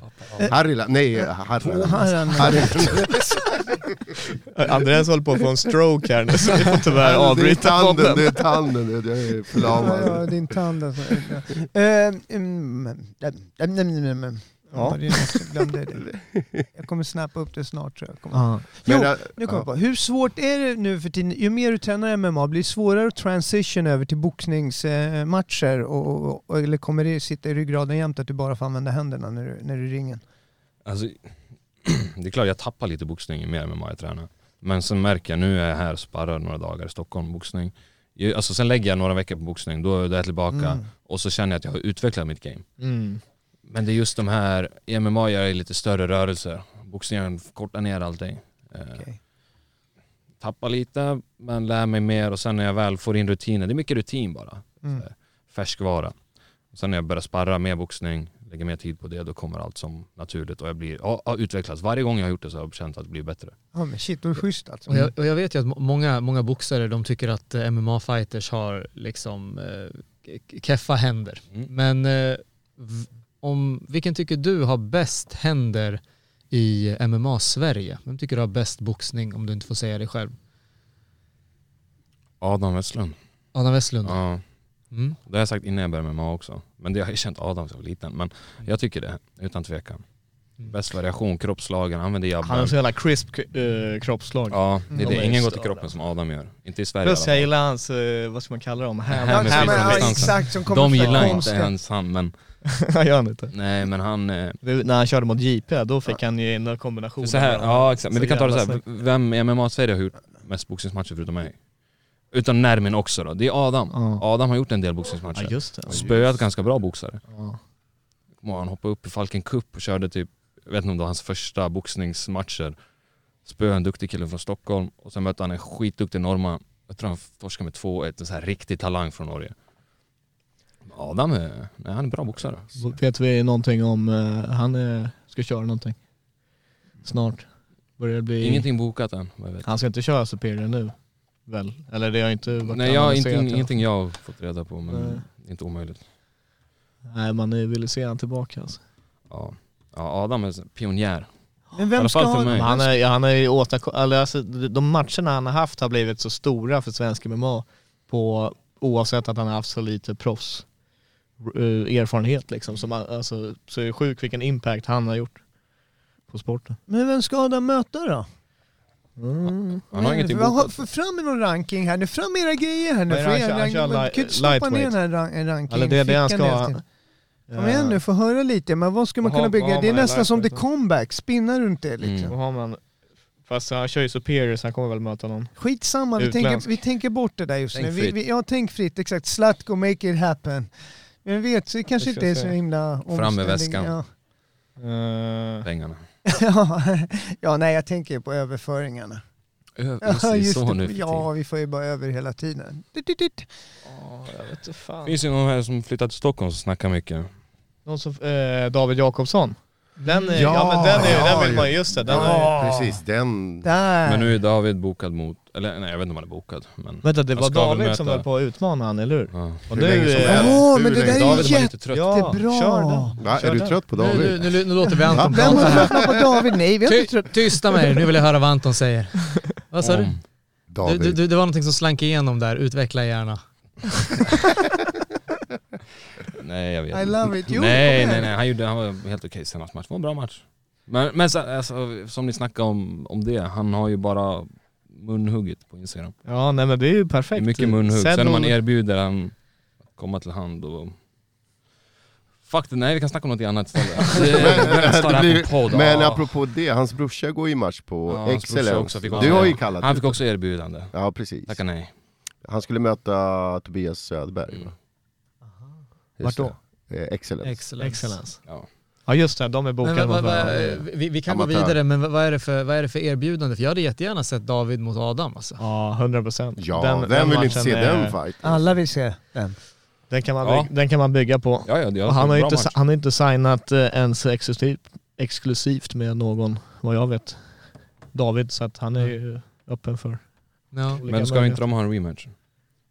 Speaker 8: Harila, nej eh, Harila.
Speaker 6: Harald.
Speaker 8: Harila.
Speaker 5: Andreas håller på att få en stroke här nu så vi får tyvärr
Speaker 8: Det är
Speaker 5: avbryta
Speaker 8: tanden, det
Speaker 5: podden.
Speaker 8: är tanden. du vet, Jag är
Speaker 6: Ja, ja,
Speaker 8: förlamad.
Speaker 6: din tand alltså. <laughs> Eh, mm, mm, mm, mm, mm, mm. Ja. det är något Jag glömde det. Jag kommer snappa upp det snart tror jag. Kommer.
Speaker 5: Ja.
Speaker 8: Men,
Speaker 6: Jo,
Speaker 8: äh,
Speaker 6: nu kommer
Speaker 8: ja.
Speaker 6: jag på. Hur svårt är det nu för tiden? Ju mer du tränar MMA, blir det svårare att transition över till boxningsmatcher? Och, och, och, eller kommer det sitta i ryggraden jämt att du bara får använda händerna när du, när du är i ringen?
Speaker 7: Alltså, <clears throat> det är klart jag tappar lite boxning ju mer med vad jag tränar. Men sen märker jag, nu är jag här och sparrar några dagar i Stockholm, boxning. Ju- Alltså sen lägger jag några veckor på boxning, då då är jag tillbaka
Speaker 6: Mm.
Speaker 7: och så känner jag att jag har utvecklat mitt game.
Speaker 5: Mm.
Speaker 7: Men det är just de här, i MMA gör jag lite större rörelser. Boxningen kortar ner allting. Eh,
Speaker 6: Okej.
Speaker 7: tappar lite, men lär mig mer och sen när jag väl får in rutinen, det är mycket rutin bara.
Speaker 6: Mm.
Speaker 7: Färskvara. Sen när jag börjar sparra mer boxning, lägger mer tid på det, då kommer allt som naturligt och jag blir, ja, ja, utvecklas. Varje gång jag har gjort det så har jag känt att det blir bättre.
Speaker 6: Ja men shit, då är det schysst alltså.
Speaker 4: Och
Speaker 7: Mm.
Speaker 4: jag, och jag vet ju att må- många, många boxare de tycker att eh, MMA-fighters har liksom eh, k- keffa händer.
Speaker 7: Mm.
Speaker 4: Men eh, v- om, vilken tycker du har bäst händer i MMA-Sverige? Vem tycker du har bäst boxning om du inte får säga det själv?
Speaker 7: Adam Westlund.
Speaker 4: Adam Westlund?
Speaker 7: Ja,
Speaker 4: Mm.
Speaker 7: det har jag sagt innan jag började med MMA också. Men det har jag känt Adam som var liten. Men jag tycker det, utan tvekan. Bäst variation, kroppslagen, använder jabbar.
Speaker 5: Han har så jävla crisp eh, kroppsslag.
Speaker 7: Ja, det är
Speaker 5: Mm.
Speaker 7: det. Ingen går till kroppen som Adam gör. Inte i Sverige
Speaker 5: Plus
Speaker 7: i
Speaker 5: jag
Speaker 7: alla fall.
Speaker 5: gillar hans, eh, vad ska man kalla dem? <laughs> Ham-
Speaker 7: Hammer
Speaker 5: hammer-
Speaker 7: sweep.
Speaker 5: hammer-
Speaker 6: exakt, som kommer
Speaker 7: De
Speaker 6: från
Speaker 7: gillar inte
Speaker 6: konstiga-
Speaker 7: ens han, men
Speaker 5: Han gör han inte.
Speaker 7: nej men han... eh,
Speaker 5: Det- När han körde mot JP, då fick han ju in några kombinationer.
Speaker 7: Så här, ja exakt,
Speaker 5: Så
Speaker 7: men vi kan ta det
Speaker 5: jävla
Speaker 7: så här.
Speaker 5: snyggt.
Speaker 7: vem i MMA-Sverige har gjort mest boxningsmatcher förutom mig? Utan Nermin också då, det är Adam.
Speaker 5: Ja.
Speaker 7: Adam har gjort en del
Speaker 5: Ja
Speaker 7: boxningsmatcher.
Speaker 5: just det.
Speaker 7: Spöat ganska bra boxare.
Speaker 5: Ja.
Speaker 7: Kommer ihåg, Han hoppade upp i Falken Cup och körde typ, jag vet inte om det var hans första boxningsmatcher. Spöade en duktig kille från Stockholm och sen mötte han en skitduktig norrman. Jag tror han torskade med 2-1, en så här riktig talang från Norge. Adam är, nej, han är bra boxare.
Speaker 6: Mm.
Speaker 5: Vet vi någonting om, eh, han eh, ska köra någonting? Snart. Börjar det bli...
Speaker 7: Ingenting bokat än vad jag vet.
Speaker 5: Han ska inte köra Superior nu? Väl? Eller det har inte varit
Speaker 7: Nej jag, inte,
Speaker 5: annonserat i alla fall.
Speaker 7: ingenting jag har fått reda på men
Speaker 5: Nej.
Speaker 7: det är inte omöjligt.
Speaker 5: Nej man eh, vill ju se han tillbaka alltså.
Speaker 7: Ja. ja, Adam är en pionjär.
Speaker 6: Men
Speaker 7: I
Speaker 6: vem
Speaker 7: alla
Speaker 6: ska
Speaker 7: fall
Speaker 6: ha
Speaker 7: för mig.
Speaker 5: Men Han är, ja, han är ju återko- eller alltså, de matcherna han har haft har blivit så stora för svensk MMA på, oavsett att han har haft så lite proffs eh, erfarenhet liksom. Så, man, alltså, så är det sjukt vilken impact han har gjort på sporten.
Speaker 6: Men vem ska Adam möta då? Mm.
Speaker 7: Han har ingenting
Speaker 6: Vad
Speaker 7: bokat.
Speaker 6: för fram i någon ranking här nu, fram med era grejer här nu.
Speaker 5: Nej,
Speaker 6: För
Speaker 5: han
Speaker 6: er
Speaker 5: kör- han
Speaker 6: ranking,
Speaker 5: kör
Speaker 6: men du
Speaker 5: li-
Speaker 6: kan ju inte stoppa ner
Speaker 5: lightweight.
Speaker 6: den här ran- en ranking
Speaker 5: Eller det är det han
Speaker 6: i
Speaker 5: ska
Speaker 6: fickan hela
Speaker 5: ha.
Speaker 6: tiden. Kom igen nu, få höra lite. Men vad ska man
Speaker 5: Vad
Speaker 6: kunna
Speaker 5: har- vad
Speaker 6: bygga?
Speaker 5: har
Speaker 6: Det är
Speaker 5: man i
Speaker 6: nästan som the
Speaker 5: lightweight då?
Speaker 6: comeback, spinna runt det liksom.
Speaker 7: Mm.
Speaker 5: Då har man, fast han kör ju Superior så han kommer väl möta någon.
Speaker 6: Skitsamma, vi tänker,
Speaker 5: Utländsk.
Speaker 6: vi tänker bort det där just
Speaker 7: Tänk
Speaker 6: nu. Vi,
Speaker 7: fritt.
Speaker 6: vi, ja, tänk fritt, exakt. Slatko, make it happen. Men vi vet, så det kanske
Speaker 5: Det
Speaker 6: inte är
Speaker 5: ska
Speaker 6: så
Speaker 5: jag
Speaker 6: himla
Speaker 7: med
Speaker 6: omställning.
Speaker 7: väskan.
Speaker 6: Ja. <laughs>
Speaker 5: Eh,
Speaker 7: Pengarna.
Speaker 6: Ja. ja, nej jag tänker på överföringarna.
Speaker 7: över.
Speaker 6: Ja,
Speaker 7: Just det,
Speaker 6: just
Speaker 7: så
Speaker 6: det.
Speaker 7: nu för
Speaker 6: ja, vi får ju bara över hela tiden. Dit, dit, dit.
Speaker 5: jag vet inte
Speaker 7: tiden.
Speaker 5: fan.
Speaker 7: Finns det någon här som flyttat till Stockholm som snackar mycket?
Speaker 5: Någon som, eh, David Jakobsson. Den, är, ja,
Speaker 8: Ja,
Speaker 5: men den, är, den
Speaker 8: ja,
Speaker 5: vill
Speaker 8: ju.
Speaker 5: man ju, just det. Den är,
Speaker 8: Ja, precis. Den...
Speaker 6: Där!
Speaker 7: Men nu är David bokad mot, eller nej jag vet inte om han är bokad. Men,
Speaker 5: vänta, det
Speaker 7: Jag
Speaker 5: var
Speaker 7: ska väl
Speaker 5: David
Speaker 7: möta-
Speaker 5: som höll på att utmana han, eller hur?
Speaker 7: ja.
Speaker 5: Och
Speaker 8: Hur länge
Speaker 5: nu...
Speaker 8: som
Speaker 5: eh,
Speaker 8: helst.
Speaker 6: Åh,
Speaker 8: Hur
Speaker 6: men det
Speaker 8: länge-
Speaker 6: där är
Speaker 7: David
Speaker 6: ju
Speaker 7: var
Speaker 6: jätte...
Speaker 7: lite trött.
Speaker 5: Ja,
Speaker 6: Jättebra.
Speaker 5: kör den.
Speaker 8: Va,
Speaker 5: Kör
Speaker 8: är du
Speaker 5: den.
Speaker 8: trött på
Speaker 4: Nu, nu,
Speaker 8: David?
Speaker 4: nu, nu låter vi Anton
Speaker 6: Vem har
Speaker 4: prata.
Speaker 5: <laughs>
Speaker 6: tröttnat på David? Nej, vi har
Speaker 4: Ty,
Speaker 6: inte trött...
Speaker 4: tysta med er, nu vill jag höra vad Anton säger. Vad sa du?
Speaker 7: Om.
Speaker 4: Du, du,
Speaker 8: David.
Speaker 4: du? Det var någonting som slank igenom där, utveckla gärna.
Speaker 7: Nej jag vet
Speaker 6: I
Speaker 7: inte.
Speaker 6: love it. Jo,
Speaker 7: nej, nej,
Speaker 6: kom igen.
Speaker 7: nej, han, gjorde, han var helt okej senast match. Det var en bra match. Men, men så- alltså, som ni snackade om, om det, han har ju bara munhuggit på Instagram.
Speaker 5: Ja, nej men det är ju
Speaker 7: Det är
Speaker 5: perfekt.
Speaker 7: mycket munhugg. Sen när man
Speaker 5: är...
Speaker 7: erbjuder han att komma till hand och... Fuck det, nej vi kan snacka om något annat istället. Det- det
Speaker 8: Men,
Speaker 7: står
Speaker 8: det
Speaker 7: här
Speaker 8: blir-
Speaker 7: på podd,
Speaker 8: men
Speaker 7: ja.
Speaker 8: apropå det, hans brorsa går ju match på
Speaker 7: Ja, hans brorsa också
Speaker 8: Excellence.
Speaker 7: fick vara
Speaker 8: Du
Speaker 7: med.
Speaker 8: har ju kallat
Speaker 7: Han
Speaker 8: ut
Speaker 7: fick också erbjudande.
Speaker 8: Ja, precis.
Speaker 7: Tacka nej.
Speaker 8: Han skulle möta Tobias Söderberg.
Speaker 7: Mm.
Speaker 8: va?
Speaker 5: Vart
Speaker 8: Just
Speaker 5: då?
Speaker 8: det. Eh, Excellence.
Speaker 4: Excellent.
Speaker 5: Excellence.
Speaker 7: Ja.
Speaker 5: Ja just det, de är
Speaker 4: Men,
Speaker 5: bokade.
Speaker 4: vad- vad-
Speaker 5: mot
Speaker 4: vad-
Speaker 5: varandra.
Speaker 4: vi, vi kan gå
Speaker 8: Amatör.
Speaker 4: vidare, men vad- vad är, det för, vad är det för erbjudande? För jag hade jättegärna sett David mot Adam alltså.
Speaker 5: Ja, 100 procent.
Speaker 8: ja, vem vill inte se den fighten?
Speaker 6: Alla vill se den.
Speaker 5: Den kan man,
Speaker 7: Ja.
Speaker 5: byg- den kan man bygga på.
Speaker 7: Ja, ja, det
Speaker 5: Och han, har ju
Speaker 7: bra
Speaker 5: inte,
Speaker 7: match.
Speaker 5: han har inte signat eh, ens exklusivt, exklusivt med någon, vad jag vet, David. Så att han är ju öppen för
Speaker 4: Ja.
Speaker 5: olika
Speaker 7: Men ska inte
Speaker 5: möjligheter.
Speaker 7: de ha en rematch?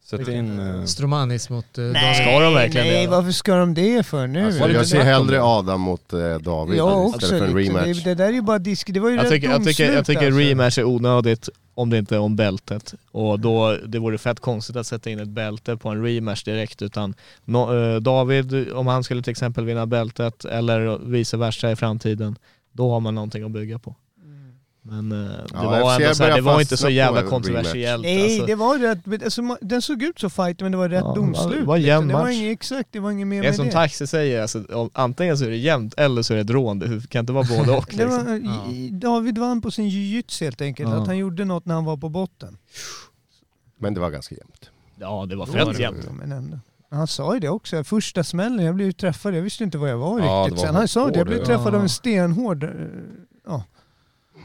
Speaker 7: Sätt in... eh,
Speaker 4: Stromanis mot eh, David.
Speaker 5: Ska de verkligen
Speaker 6: Nej,
Speaker 5: det?
Speaker 6: varför ska de det för nu?
Speaker 7: Alltså,
Speaker 8: Jag
Speaker 7: inte
Speaker 8: ser
Speaker 7: snack om
Speaker 8: hellre
Speaker 7: det?
Speaker 8: Adam mot eh, David
Speaker 6: jag också.
Speaker 8: istället för en
Speaker 6: lite.
Speaker 8: rematch.
Speaker 6: Det, det där är ju bara disk... Det var ju
Speaker 5: Jag
Speaker 6: redan
Speaker 5: tycker, jag, tycker, jag
Speaker 6: domslut,
Speaker 5: tycker
Speaker 6: alltså.
Speaker 5: rematch är onödigt om det inte är om bältet. Och då, det vore fett konstigt att sätta in ett bälte på en rematch direkt utan nå- eh, David, om han skulle till exempel vinna bältet eller vice versa i framtiden, då har man någonting att bygga på.
Speaker 6: Mm.
Speaker 5: Men eh, det
Speaker 8: Ja,
Speaker 5: var
Speaker 8: FC
Speaker 5: ändå så här, det
Speaker 8: börjar
Speaker 5: var inte
Speaker 8: fastna
Speaker 5: så
Speaker 8: på
Speaker 5: jävla
Speaker 8: en
Speaker 5: kontroversiellt.
Speaker 6: Nej,
Speaker 5: alltså.
Speaker 6: det var rätt... Alltså, ma- den såg ut så fight, men det var rätt
Speaker 5: Ja,
Speaker 6: domslut.
Speaker 5: det var en jämn
Speaker 6: liksom. det var
Speaker 5: match.
Speaker 6: inget, exakt, det var inget mer
Speaker 5: Det är
Speaker 6: med
Speaker 5: som
Speaker 6: det.
Speaker 5: Taxi säger, alltså, om- antingen så är det jämnt eller så är det ett rån. Det kan inte vara både och.
Speaker 6: Det
Speaker 5: Liksom.
Speaker 6: var, i- David vann på sin jiu-jitsu helt enkelt,
Speaker 5: Ja.
Speaker 6: att han gjorde något när han var på botten.
Speaker 8: Men det var ganska jämnt.
Speaker 5: Ja, det var
Speaker 6: Då var
Speaker 5: fett
Speaker 6: det
Speaker 5: jämnt.
Speaker 6: bra, Men ändå. Han sa ju det också, första smällen, jag blev ju träffad, jag visste inte vad jag var
Speaker 7: Ja,
Speaker 6: riktigt.
Speaker 7: det var
Speaker 6: Sen han sa det, jag blev
Speaker 7: hård,
Speaker 6: träffad
Speaker 4: ja.
Speaker 6: av en stenhård... eh, Ja,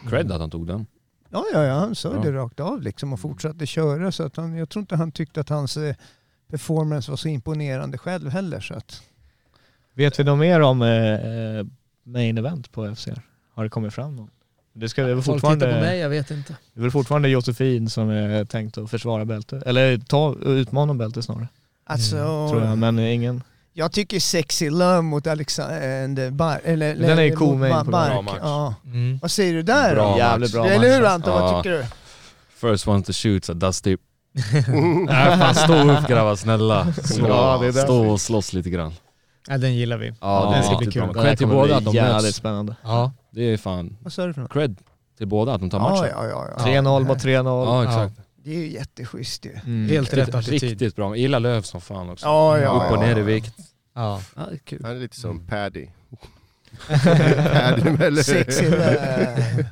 Speaker 7: Cred att han tog den.
Speaker 6: ja, ja, ja han sa
Speaker 7: Ja.
Speaker 6: det rakt av liksom och fortsatte köra. Så att han, jag tror inte han tyckte att hans eh, performance var så imponerande själv heller. Så att,
Speaker 5: Vet vi något mer om eh, eh, main event på FC? Har det kommit fram någon? Det, ska, det, är väl
Speaker 4: Folk tittar på
Speaker 5: fortfarande,
Speaker 4: mig, jag vet inte.
Speaker 5: det är väl fortfarande Josefin som är tänkt att försvara bältet, eller ta, utmana bältet snarare,
Speaker 6: alltså,
Speaker 5: tror jag. Men ingen...
Speaker 6: jag tycker Sexy Love mot Alexander Bark, eller,
Speaker 5: Den är ju
Speaker 6: mot
Speaker 5: cool main
Speaker 6: Ba-
Speaker 5: på grund
Speaker 7: av
Speaker 6: Bark,
Speaker 7: match.
Speaker 6: ja.
Speaker 4: Mm.
Speaker 6: Vad säger du där
Speaker 7: Bra
Speaker 6: då?
Speaker 5: Jävligt
Speaker 7: match.
Speaker 5: bra
Speaker 6: Eller hur
Speaker 5: match.
Speaker 6: Anton, vad
Speaker 7: Ja.
Speaker 6: tycker du?
Speaker 7: First one to shoot, så dusty. <laughs> Nej fan stå upp grabbar, snälla. Slå,
Speaker 5: Ja, det är därför.
Speaker 7: stå och slåss lite grann.
Speaker 4: Ja, den gillar vi.
Speaker 7: Ja,
Speaker 5: det ska
Speaker 7: det ska
Speaker 4: bli
Speaker 7: bli
Speaker 4: kul.
Speaker 7: kul.
Speaker 5: Det här
Speaker 7: Cred till
Speaker 5: kommer
Speaker 7: båda att
Speaker 5: bli
Speaker 7: de
Speaker 5: jävligt
Speaker 7: möts.
Speaker 5: spännande.
Speaker 4: Ja.
Speaker 7: Det är fan
Speaker 6: Vad sa du för något?
Speaker 7: cred till båda att de tar
Speaker 6: Ja,
Speaker 7: matchen.
Speaker 6: ja, ja, ja.
Speaker 5: 3-0 mot 3-0.
Speaker 7: Ja exakt.
Speaker 6: Det är ju jätteschysst ju.
Speaker 5: Mm.
Speaker 4: Helt rätt attityd.
Speaker 7: Riktigt bra. Jag gillar Lööf som fan också.
Speaker 6: Ja,
Speaker 8: ja,
Speaker 7: Upp och
Speaker 8: ja.
Speaker 7: ner i vikt.
Speaker 4: Ja.
Speaker 7: Ja, det är kul.
Speaker 8: Han är lite
Speaker 6: Mm.
Speaker 8: som Paddy. <laughs> Paddy eller
Speaker 6: Sexy där.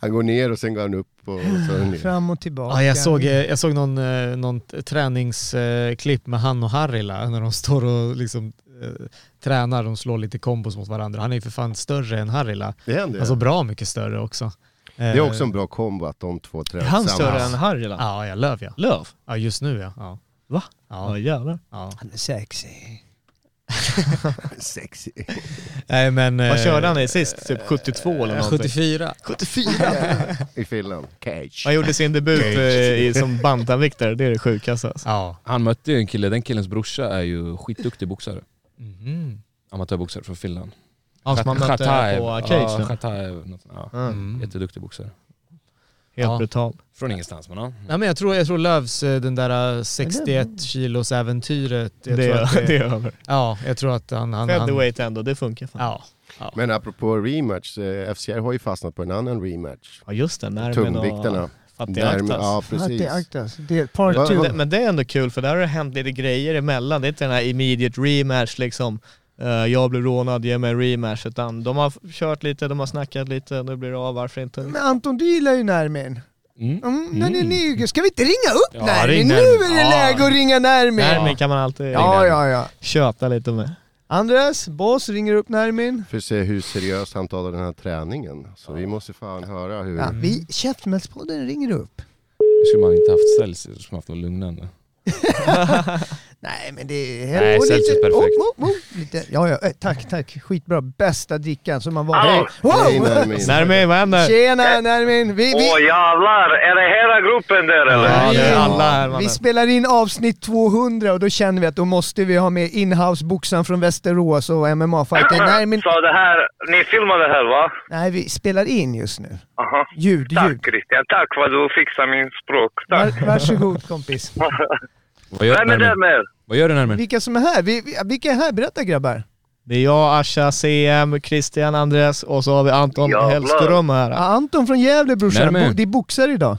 Speaker 8: Han går ner och sen går han upp och så är han ner.
Speaker 6: Fram och tillbaka.
Speaker 4: Ja, jag, såg, eh, jag såg någon, eh, någon t- träningsklipp med han och Harila när de står och liksom, eh, tränar, de slår lite kombos mot varandra. Han är ju för fan större än Harila.
Speaker 8: Det händer
Speaker 4: Alltså
Speaker 8: ju.
Speaker 4: bra mycket större också.
Speaker 8: Det är också en bra kombo att de två
Speaker 5: Är
Speaker 8: tränar
Speaker 5: han större än
Speaker 8: tillsammans.
Speaker 5: Harjula?
Speaker 4: Ja, jag löv ja.
Speaker 5: Löf?
Speaker 4: Ja, just nu ja. ja.
Speaker 5: Va? Ja
Speaker 4: Ja.
Speaker 5: jävlar.
Speaker 4: ja.
Speaker 6: Han är sexy.
Speaker 8: <laughs> Sexy.
Speaker 4: Nej men...
Speaker 5: Vad
Speaker 4: eh,
Speaker 5: körde han i sist? Typ 72 eller någonting?
Speaker 4: 74.
Speaker 5: 74?
Speaker 8: I Finland. Cage.
Speaker 5: Han gjorde sin debut eh, i, som bantamviktare, det är det sjukaste alltså.
Speaker 4: Ja.
Speaker 7: <laughs> Han mötte ju en kille, den killens brorsa är ju skitduktig boxare.
Speaker 4: Mhm.
Speaker 7: Amatörboxare från Finland.
Speaker 5: Ja, som han mötte
Speaker 7: Chataev.
Speaker 5: på
Speaker 7: Ja,
Speaker 5: cage.
Speaker 7: Chataev, något sånt. ja.
Speaker 5: Mm.
Speaker 4: Mm.
Speaker 7: Jätteduktig boxare.
Speaker 5: Helt
Speaker 4: Ja.
Speaker 5: brutal.
Speaker 7: Från ingenstans men ja.
Speaker 4: Nej, men jag tror, jag tror Lövs, eh, den där eh, 61 kilos äventyret.
Speaker 5: Det,
Speaker 4: Jag tror att
Speaker 5: är, det är över.
Speaker 4: Ja, jag tror att han... han, han
Speaker 5: Featherweight ändå, det funkar fan.
Speaker 4: ja.
Speaker 8: Men apropå rematch, eh, FCR har ju fastnat på en annan rematch.
Speaker 5: Ja just det, Nermin och
Speaker 8: Tungviktarna. Närmen-
Speaker 5: Fatiaktas.
Speaker 8: Ja,
Speaker 6: Att
Speaker 8: precis.
Speaker 6: det aktas. Det är par
Speaker 8: Va-
Speaker 6: two.
Speaker 8: va-
Speaker 5: Men det är ändå kul för där har det hänt lite grejer emellan. Det är inte den här immediate rematch liksom. Eh, jag blev rånad, ge mig en rematch. Utan de har f- kört lite, de har snackat lite, nu blir det av, varför inte?
Speaker 6: Men Anton, du gillar ju Nermin.
Speaker 7: Mm.
Speaker 6: Mm, Den är ny. Ska vi inte ringa upp
Speaker 7: Ja,
Speaker 6: Nermin?
Speaker 7: ring
Speaker 6: Nu
Speaker 7: Nermin.
Speaker 6: är det
Speaker 7: Ja.
Speaker 6: läge att ringa Nermin.
Speaker 5: Närmin kan man alltid
Speaker 6: Ja, ja, ja.
Speaker 5: köta lite med.
Speaker 6: Andres, boss, ringer upp Nermin.
Speaker 8: För att se hur seriöst han tar den här träningen. Så vi måste fan höra hur...
Speaker 6: Ja, vi, Käftsmällspodden ringer upp.
Speaker 7: Skulle man inte haft Celsius, skulle man haft något lugnande.
Speaker 6: Nej men det är...
Speaker 7: Nej, Celsius är perfekt.
Speaker 6: Oh, oh, oh, lite, ja, ja, eh, tack, tack. Skitbra. Bästa drickan som man var... Hej!
Speaker 8: Hej,
Speaker 6: Wow!
Speaker 8: Nermin.
Speaker 5: Nermin, vad händer?
Speaker 6: Tjena Nermin! Vi, vi,
Speaker 9: Åh jävlar, är det hela gruppen där eller?
Speaker 5: Ja, det är alla här
Speaker 6: vi
Speaker 5: mannen.
Speaker 6: spelar in avsnitt 200 och då känner vi att då måste vi ha med inhouse-boxaren från Västerås och MMA-fightern. Nermin...
Speaker 9: Så det här, ni filmar det här va?
Speaker 6: Nej, vi spelar in just nu.
Speaker 9: Aha.
Speaker 6: Ljud, ljud.
Speaker 9: Tack Christian, tack för att du fixar min språk. Tack.
Speaker 6: Var, varsågod kompis.
Speaker 7: Vad gör,
Speaker 9: Vem är det
Speaker 7: Nermin?
Speaker 9: med?
Speaker 7: Vad gör du Nermin?
Speaker 6: Vilka som är här? Vi, vi- vilka är här? Berätta grabbar.
Speaker 5: Det är jag, Asha, CM, Christian, Andres och så har vi Anton
Speaker 9: Jävlar.
Speaker 5: Hellström här.
Speaker 6: Ja, Anton från Gävle brorsan,
Speaker 7: Närmare.
Speaker 6: Bo- det är boxare idag.
Speaker 9: Uh,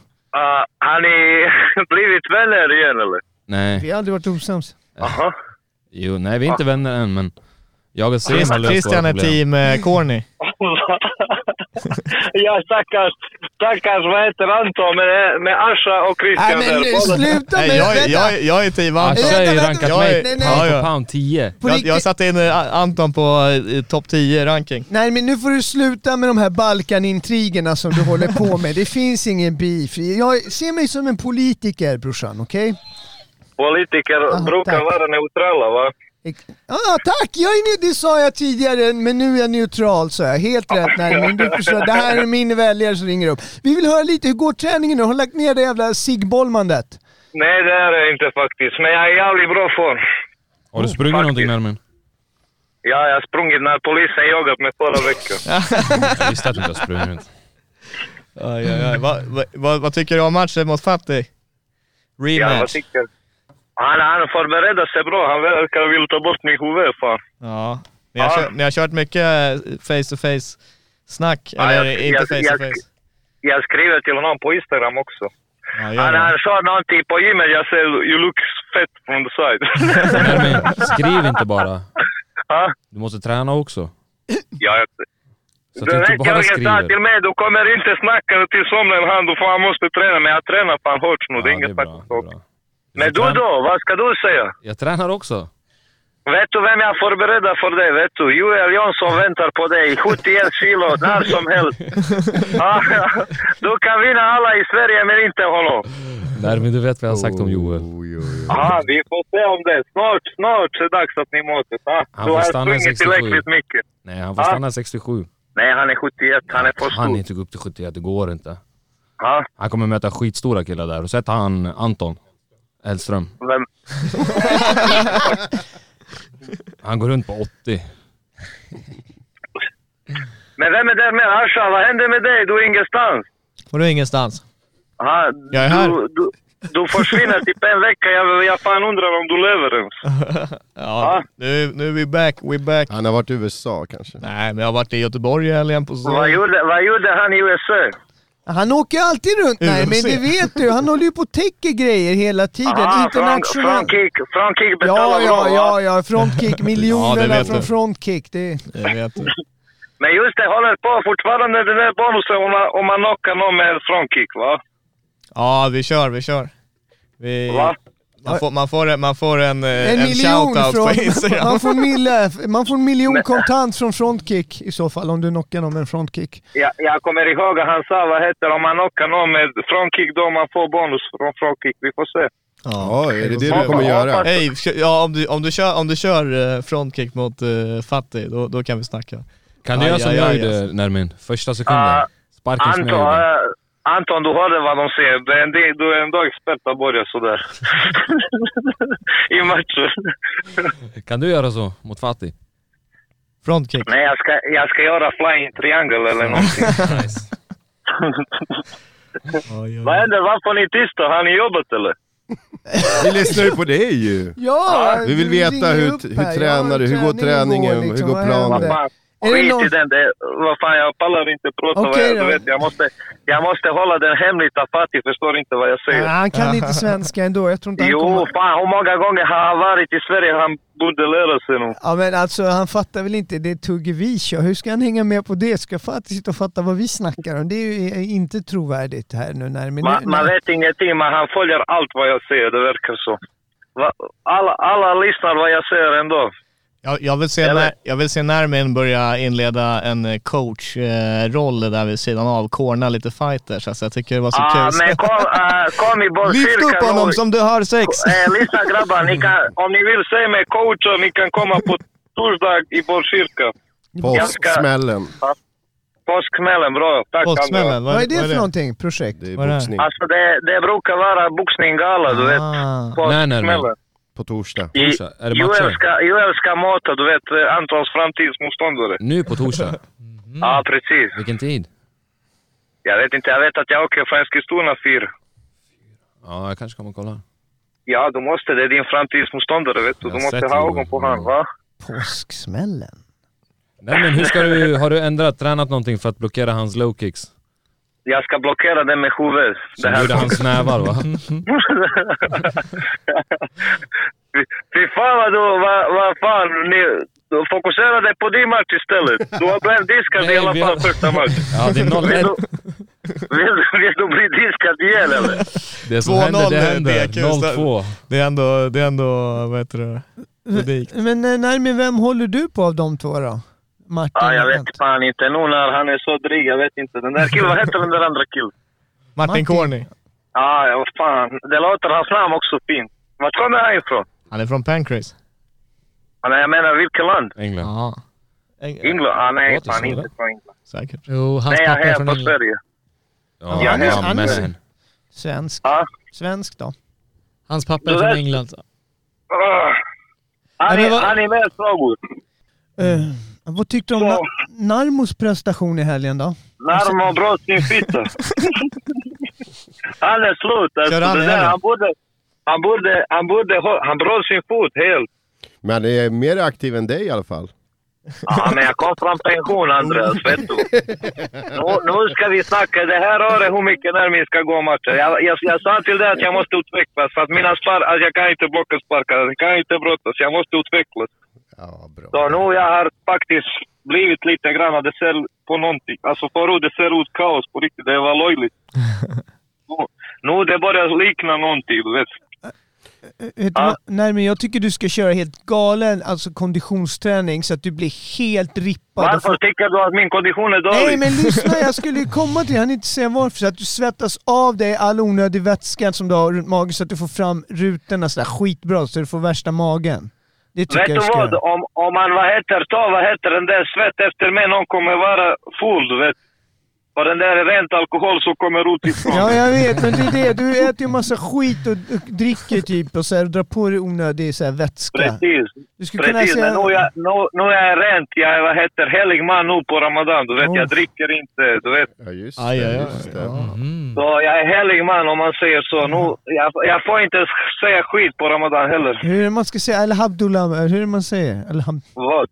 Speaker 9: har ni blivit vänner igen eller?
Speaker 7: Nej,
Speaker 6: Vi har aldrig varit osams.
Speaker 9: Aha.
Speaker 7: jo, nej vi är inte vänner än men jag och Sim har
Speaker 5: Christ-
Speaker 7: löst våra
Speaker 5: Christian är
Speaker 7: problem.
Speaker 5: team eh, Corny.
Speaker 9: ja stackars, stackars vad heter Anton med, med Asha och
Speaker 6: Nej
Speaker 9: Christian
Speaker 6: men nu,
Speaker 9: där.
Speaker 6: sluta med
Speaker 5: Nej,
Speaker 6: det!
Speaker 5: jag,
Speaker 6: Vänta!
Speaker 5: jag, jag är team
Speaker 7: Asha
Speaker 5: Anton.
Speaker 6: Vänta,
Speaker 7: är ju
Speaker 6: vänta,
Speaker 7: rankat
Speaker 6: vänta.
Speaker 7: Ah, mig
Speaker 6: Nej,
Speaker 7: nej,
Speaker 6: nej.
Speaker 5: Ja, ja.
Speaker 7: pound 10.
Speaker 6: På
Speaker 5: Jag,
Speaker 6: riktigt.
Speaker 5: jag satte in eh, Anton på eh, topp 10-ranking.
Speaker 6: Nej men nu får du sluta med de här Balkanintrigerna som du håller på med. Det finns ingen beef. Jag ser mig som en politiker brorsan, okej?
Speaker 9: Politiker
Speaker 6: Aha,
Speaker 9: brukar
Speaker 6: tack.
Speaker 9: vara neutrala va?
Speaker 6: Ex- Ah, tack! Jag är, ne- det sa jag tidigare, men nu är jag neutral sa jag. Helt rätt Nermin. Du förstår, det här är min väljare som ringer upp. Vi vill höra lite, hur går träningen nu? Har du lagt ner det jävla siggbollmandet?
Speaker 9: Nej det är jag inte faktiskt, men jag är i jävligt bra form.
Speaker 7: Har du sprungit någonting Nermin?
Speaker 9: Ja, jag har sprungit när polisen jagat mig förra veckan.
Speaker 7: Jag visste att du inte har sprungit.
Speaker 5: Aj, aj, aj. Va, va, va, vad tycker du om matchen mot Fatih?
Speaker 9: Ja, vad
Speaker 5: Rematch.
Speaker 9: tycker han, han förbereder sig bra. Han verkar vilja ta bort min huvud fan.
Speaker 5: Ja. Ni har, kört, ni har kört mycket face to face snack,
Speaker 9: Ja,
Speaker 5: eller
Speaker 9: jag-
Speaker 5: inte
Speaker 9: jag-
Speaker 5: face to
Speaker 9: jag-
Speaker 5: face?
Speaker 9: Jag skriver till honom på Instagram också.
Speaker 5: Ja, gör
Speaker 9: Han,
Speaker 5: det.
Speaker 9: han sa någonting på gymmet. Jag säger ja, you look fett from the side. <laughs>
Speaker 7: Nermin, skriv inte bara.
Speaker 9: Ja.
Speaker 7: Du måste träna också.
Speaker 9: ja, jag,
Speaker 7: Så att du
Speaker 9: den här
Speaker 7: inte bara
Speaker 9: killen sa till
Speaker 7: skriver.
Speaker 9: mig du kommer inte snacka till somligen han. Du fan måste träna. Men jag tränar fan hårt
Speaker 7: Ja,
Speaker 9: nu. det är
Speaker 7: det
Speaker 9: inget
Speaker 7: är
Speaker 9: snack
Speaker 7: bra.
Speaker 9: om
Speaker 7: Det är
Speaker 9: saken.
Speaker 7: bra.
Speaker 9: Men du
Speaker 7: Jag trän-
Speaker 9: då? Vad ska du säga?
Speaker 7: Jag tränar också.
Speaker 9: Vet du vem jag förbereder för dig? Vet du? Joel Jonsson väntar på dig. 71 kilo, när som
Speaker 5: <laughs>
Speaker 9: helst. Ja, du kan vinna alla i Sverige, men inte honom.
Speaker 7: Nermin, du vet vad jag har sagt om
Speaker 6: Oh.
Speaker 7: Joel.
Speaker 8: Oj, oj, oj.
Speaker 9: Ja, vi får se om det. Snart, snart är det dags att ni möts. Ja,
Speaker 7: Han
Speaker 9: du
Speaker 7: får
Speaker 9: har
Speaker 7: stanna i
Speaker 9: sprungit
Speaker 7: 67.
Speaker 9: tillräckligt mycket.
Speaker 7: Nej, han får
Speaker 9: Ja.
Speaker 7: stanna 67.
Speaker 9: Nej, han är 71. Han är för
Speaker 7: Han är
Speaker 9: stor.
Speaker 7: inte upp till 71, det går inte.
Speaker 9: Ja,
Speaker 7: Han kommer möta skitstora killar där. Och så heter han Anton Hellström.
Speaker 9: vem?
Speaker 7: Han går runt på 80.
Speaker 9: Men vem är där med? Asha, vad händer med dig? Du är ingenstans.
Speaker 5: Får du ingenstans?
Speaker 9: Ja,
Speaker 5: Jag är här.
Speaker 9: Du, du, du försvinner typ en vecka. Jag, jag fan undrar om du lever ens.
Speaker 5: Ja,
Speaker 9: Ja.
Speaker 5: nu, nu är vi back, we back.
Speaker 8: Han har varit i USA kanske.
Speaker 5: Nej, men jag har varit i Göteborg i helgen på
Speaker 9: Vad
Speaker 5: så.
Speaker 9: gjorde, vad gjorde han i USA?
Speaker 6: Han åker ju alltid runt nej, men
Speaker 5: UFC.
Speaker 6: det vet du. Han håller ju på och täcker grejer hela tiden. Internationellt.
Speaker 9: Frontkick, frontkick
Speaker 6: Ja,
Speaker 9: betalar
Speaker 6: ja,
Speaker 9: bra va?
Speaker 6: ja, ja.
Speaker 9: <laughs>
Speaker 6: Frontkick.
Speaker 5: Ja, det
Speaker 6: Miljonerna
Speaker 5: vet
Speaker 6: från
Speaker 5: du.
Speaker 6: frontkick. Det är...
Speaker 5: Jag vet inte.
Speaker 9: Men just det, håller på fortfarande den där bonusen om man, om man knockar någon med frontkick va?
Speaker 5: Ja, vi kör, vi kör. Vi,
Speaker 9: Va?
Speaker 5: man, får, man, får, en- man får en, eh,
Speaker 6: En,
Speaker 5: en
Speaker 6: miljon
Speaker 5: shoutout på
Speaker 6: från...
Speaker 5: Instagram.
Speaker 6: Man får, mille, man får en miljon kontant från frontkick i så fall, om du knockar någon med en frontkick.
Speaker 9: Ja, jag kommer ihåg att han sa, vad heter det, om man knockar någon med frontkick då man får bonus från frontkick. Vi får se.
Speaker 8: Ja, är det det du kommer göra?
Speaker 5: Hej, kö- ja, om, du, om, du kör, om du kör eh, frontkick mot uh, Fatih, då, då kan vi snacka.
Speaker 7: Kan du
Speaker 5: Aj,
Speaker 7: göra som
Speaker 5: aj,
Speaker 7: jag
Speaker 5: aj, alltså.
Speaker 7: gjorde Nermin? Första sekunden.
Speaker 9: Ah,
Speaker 7: Sparken som jag
Speaker 9: Anton,
Speaker 7: gjorde.
Speaker 9: eh, Anton, du hörde vad de säger. Det är en del- Du är ändå expert att börja sådär. <laughs> I matcher. eh.
Speaker 7: Kan du göra så mot Fatih?
Speaker 5: Frontkick.
Speaker 9: Nej, jag ska, jag ska göra flying triangle eller någonting.
Speaker 5: <laughs>
Speaker 7: Nice.
Speaker 5: Oj,
Speaker 9: Vad
Speaker 5: oj.
Speaker 9: händer? Varför är ni tysta? Har ni jobbat eller?
Speaker 8: Vi lyssnar ju på dig ju!
Speaker 6: Ja!
Speaker 8: Vi vill
Speaker 6: du
Speaker 8: veta
Speaker 6: ringer
Speaker 8: hur-
Speaker 6: upp
Speaker 8: hur
Speaker 6: här. Ja, liksom.
Speaker 8: tränar du? Hur går träningen? Hur går
Speaker 6: vad
Speaker 8: planen?
Speaker 6: händer?
Speaker 9: Vad fan,
Speaker 6: Är det
Speaker 9: skit
Speaker 6: någon-
Speaker 9: i den. Det, vad fan, jag pallar inte prata. vad
Speaker 6: Okej
Speaker 9: jag,
Speaker 6: då.
Speaker 9: du vet, jag, måste, jag måste hålla den hemligt. att Fatih förstår inte vad jag
Speaker 6: Nej,
Speaker 9: säger.
Speaker 6: han kan inte svenska ändå. Jag tror inte han
Speaker 9: Jo,
Speaker 6: Ah, kommer...
Speaker 9: fan hur många gånger har han varit i Sverige? Han borde lära sig nu.
Speaker 6: Ja men alltså han fattar väl inte det tugg vi kör. Hur ska han hänga med på det? Ska Fatih sitta och fatta vad vi snackar om? Det är ju eh, inte trovärdigt här nu när... Men
Speaker 9: Man,
Speaker 6: nu,
Speaker 9: man vet ingenting, men han följer allt vad jag säger. Det verkar så. Va- Alla, alla lyssnar vad jag säger ändå.
Speaker 5: Jag, jag, vill se
Speaker 9: Jag
Speaker 5: när,
Speaker 9: vet.
Speaker 5: jag vill se Nermin börja inleda en eh, coachroll eh, där vid sidan av, corna lite fighters. Alltså jag tycker det var så
Speaker 9: Ah,
Speaker 5: kul.
Speaker 9: men kom, ah, kom i
Speaker 5: Lyft
Speaker 9: bollcirkeln
Speaker 5: upp honom som du har sex!
Speaker 9: Eh, lyssna grabbar, ni kan, om ni vill se mig coacha, ni kan komma på torsdag i bollcirkeln. Jag ska-
Speaker 8: Påsksmällen.
Speaker 9: Påsksmällen, bra. Tack Andreas.
Speaker 5: Påsksmällen,
Speaker 6: Vad är det för någonting? Projekt?
Speaker 8: Det
Speaker 5: Vad är
Speaker 8: är
Speaker 5: det?
Speaker 8: boxning
Speaker 9: Alltså det, det brukar vara boxninggala, du vet.
Speaker 5: Ah.
Speaker 7: Nej, nej, nej.
Speaker 9: Påsksmällen.
Speaker 8: på torsdag.
Speaker 9: I-
Speaker 7: Torsdag. Är det
Speaker 9: Joel
Speaker 7: matcher?
Speaker 9: ska, Joel ska mata, du vet, eh, Antons framtidsmotståndare.
Speaker 7: Nu på
Speaker 5: <laughs>
Speaker 7: torsdag?
Speaker 9: Ja, precis.
Speaker 7: Vilken tid?
Speaker 9: Jag vet inte, jag vet att jag åker från Eskilstuna fyra.
Speaker 7: Ja, jag kanske kommer och kollar.
Speaker 9: Ja, du måste. Det är din framtidsmotståndare, vet du.
Speaker 7: Jag
Speaker 9: Du
Speaker 7: har
Speaker 9: måste
Speaker 7: sett
Speaker 9: ha
Speaker 7: Joel.
Speaker 9: ögon på honom, va?
Speaker 6: Påsksmällen?
Speaker 7: Nej men hur ska du, har du ändrat, tränat någonting för att blockera hans low kicks?
Speaker 9: Jag ska blockera den med huvudet. Det
Speaker 7: Som
Speaker 9: här
Speaker 7: gjorde hans nävar
Speaker 5: <laughs>
Speaker 7: va?
Speaker 9: Fy- Fy fan vad du, vad, vad fan, ni, du fokuserade på din match istället. Du har blivit diskad i
Speaker 7: Nej,
Speaker 9: alla
Speaker 7: vi
Speaker 9: fall
Speaker 7: har-
Speaker 9: första match.
Speaker 7: Ja det är 0-1. <laughs>
Speaker 9: Vill du, vill, du- vill du bli diskad igen eller?
Speaker 7: Det som
Speaker 5: 2-0
Speaker 7: händer det
Speaker 5: är
Speaker 7: händer.
Speaker 5: DQ, så-
Speaker 7: 0-2.
Speaker 5: Det är ändå, det är ändå, vad heter det, publik.
Speaker 6: Men eh, Nermin, vem håller du på av de två då? Martin
Speaker 9: Ja, jag
Speaker 6: och
Speaker 9: vet
Speaker 6: Kent.
Speaker 9: fan inte. Nu när han är så dryg, jag vet inte. Den där killen, vad heter den där andra killen?
Speaker 5: Martin Corny.
Speaker 9: Ja, ja, vad fan. Det låter hans namn också fint. Vart kommer han ifrån?
Speaker 5: Han är från Pancrase.
Speaker 9: Ja, nej, Jag menar, vilket land?
Speaker 7: England.
Speaker 5: Ja.
Speaker 9: England? Ah, nej,
Speaker 7: Låter
Speaker 9: fan
Speaker 7: så,
Speaker 9: inte
Speaker 7: eller?
Speaker 9: från England.
Speaker 5: Eh, Säkert.
Speaker 4: Jo, hans
Speaker 9: Nej, jag
Speaker 4: pappa
Speaker 9: är
Speaker 4: är
Speaker 9: här
Speaker 4: från
Speaker 9: på
Speaker 4: England.
Speaker 9: Sverige.
Speaker 7: Ja,
Speaker 9: Ja,
Speaker 7: ja,
Speaker 9: han
Speaker 6: är-
Speaker 7: Messi.
Speaker 6: Svensk.
Speaker 9: Ja.
Speaker 6: Svensk då?
Speaker 4: Hans pappa är
Speaker 9: Du
Speaker 4: från
Speaker 9: vet-
Speaker 4: England.
Speaker 9: Ah. Har
Speaker 4: Ja,
Speaker 9: ni-
Speaker 4: men vad-
Speaker 9: har ni mer frågor?
Speaker 6: Eh, vad tyckte du om
Speaker 9: Ja.
Speaker 6: Na- Narmos prestation i helgen då?
Speaker 9: Narmo bröt sin
Speaker 5: <laughs>
Speaker 9: fitta. han är slut. Alltså,
Speaker 5: Kör han
Speaker 9: det
Speaker 5: i
Speaker 9: där,
Speaker 5: helgen?
Speaker 9: han borde... Han borde... Han borde... ha- Han bröt sin fot helt.
Speaker 8: Men han är mer aktiv än dig i alla fall.
Speaker 9: Ja, men jag kom från pension, Andreas. Vet du. Nu, nu ska vi snacka. Det här året hur mycket närmare ska gå matcher. Jag, jag, jag sa till dig att jag måste utvecklas. För att mina spark... Alltså, jag kan inte blocka sparkar. Jag kan inte brottas. Jag måste utvecklas.
Speaker 8: Ja, bra.
Speaker 9: Så nu jag har faktiskt blivit lite grann, det ser på någonting. Alltså förut det ser ut kaos på riktigt, det var
Speaker 6: <laughs>
Speaker 9: löjligt. nu, nu det börjar likna någonting, du vet.
Speaker 6: Vet Eh, du
Speaker 9: Ja.
Speaker 6: vad? Nermin, jag tycker du ska köra helt galen alltså konditionsträning så att du blir helt rippad. och
Speaker 9: Varför
Speaker 6: får-
Speaker 9: tycker du att min kondition är dålig?
Speaker 6: Nej men lyssna, jag skulle ju komma till det. Jag hann inte säga varför. Så att du svettas av dig all onödig vätska som du har runt magen så att du får fram rutorna sådär skitbra så du får värsta magen. Det tycker
Speaker 9: Vet
Speaker 6: jag
Speaker 9: du
Speaker 6: du ska
Speaker 9: vad?
Speaker 6: göra.
Speaker 9: Om, om man vad heter, tar vad heter den där svett efter mig, någon kommer vara full, du vet. Och den där är rent alkohol som
Speaker 6: <laughs>
Speaker 9: kommer ut ifrån.
Speaker 6: Ja jag vet, men det är det. Du äter ju massa skit och och dricker typ och så här, drar på dig onödig så här, vätska.
Speaker 9: Precis.
Speaker 6: Du skulle kunna
Speaker 9: Precis, men
Speaker 6: säga...
Speaker 9: nu, jag, nu, nu är jag rent, jag är vad heter helig man nu på Ramadan, du vet. Jag dricker inte, du vet.
Speaker 8: Ja, just
Speaker 5: Aj,
Speaker 8: det.
Speaker 5: aj, aj.
Speaker 8: Just det.
Speaker 4: Mm.
Speaker 9: Så jag är helig man om man säger så. Nu, jag, jag får inte säga skit på Ramadan heller.
Speaker 6: Hur är det man ska säga? Alhamdulillah, hur är det man säger? Alham...
Speaker 9: Vad?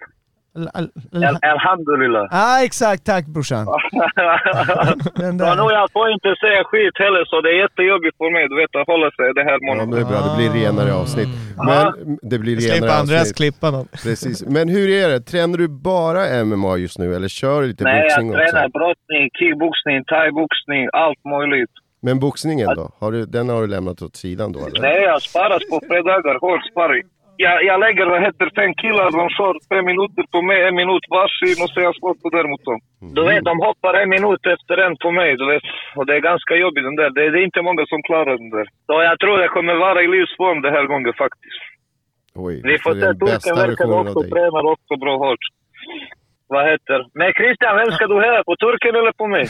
Speaker 6: Al, al,
Speaker 9: El,
Speaker 6: al,
Speaker 9: alhamdulillah. <laughs>
Speaker 6: ah, exakt, tack brorsan. Den
Speaker 9: Så nu
Speaker 6: där.
Speaker 9: jag får inte säga skit heller så det är jättejobbigt för mig du vet att hålla sig det här
Speaker 8: Ja, men
Speaker 9: månaden.
Speaker 8: det är bra, det blir renare avsnitt.
Speaker 9: Ah.
Speaker 8: Men, det blir
Speaker 5: Slipper
Speaker 8: renare
Speaker 5: Andreas
Speaker 8: avsnitt.
Speaker 5: klippa någon.
Speaker 8: Precis. Men hur är det? Tränar du bara MMA just nu eller kör du lite
Speaker 9: Nej, jag
Speaker 8: boxning
Speaker 9: tränar
Speaker 8: också?
Speaker 9: brottning, kickboxning, thaiboxning, allt möjligt.
Speaker 8: Men boxningen då? Har du, den har du lämnat åt sidan då eller?
Speaker 9: Nej, jag sparas på fredagar, hård sparring. Jag, jag lägger vad heter fem killar, de kör fem minuter på mig, en minut varsin och så jag slår på där mot dem. Du vet, de hoppar en minut efter en på mig, du vet. Och det är ganska jobbigt den där. Det, det är inte många som klarar den där. Så jag tror jag kommer vara i livsform den här gången faktiskt.
Speaker 8: Oj,
Speaker 9: Vi får
Speaker 8: det
Speaker 9: se,
Speaker 8: är den
Speaker 9: Turken
Speaker 8: bästa
Speaker 9: verkar
Speaker 8: versionen av
Speaker 9: också
Speaker 8: dig.
Speaker 9: träna också bra hårt. Vad heter? Men Christian, vem ska du heja på? Turken eller på mig?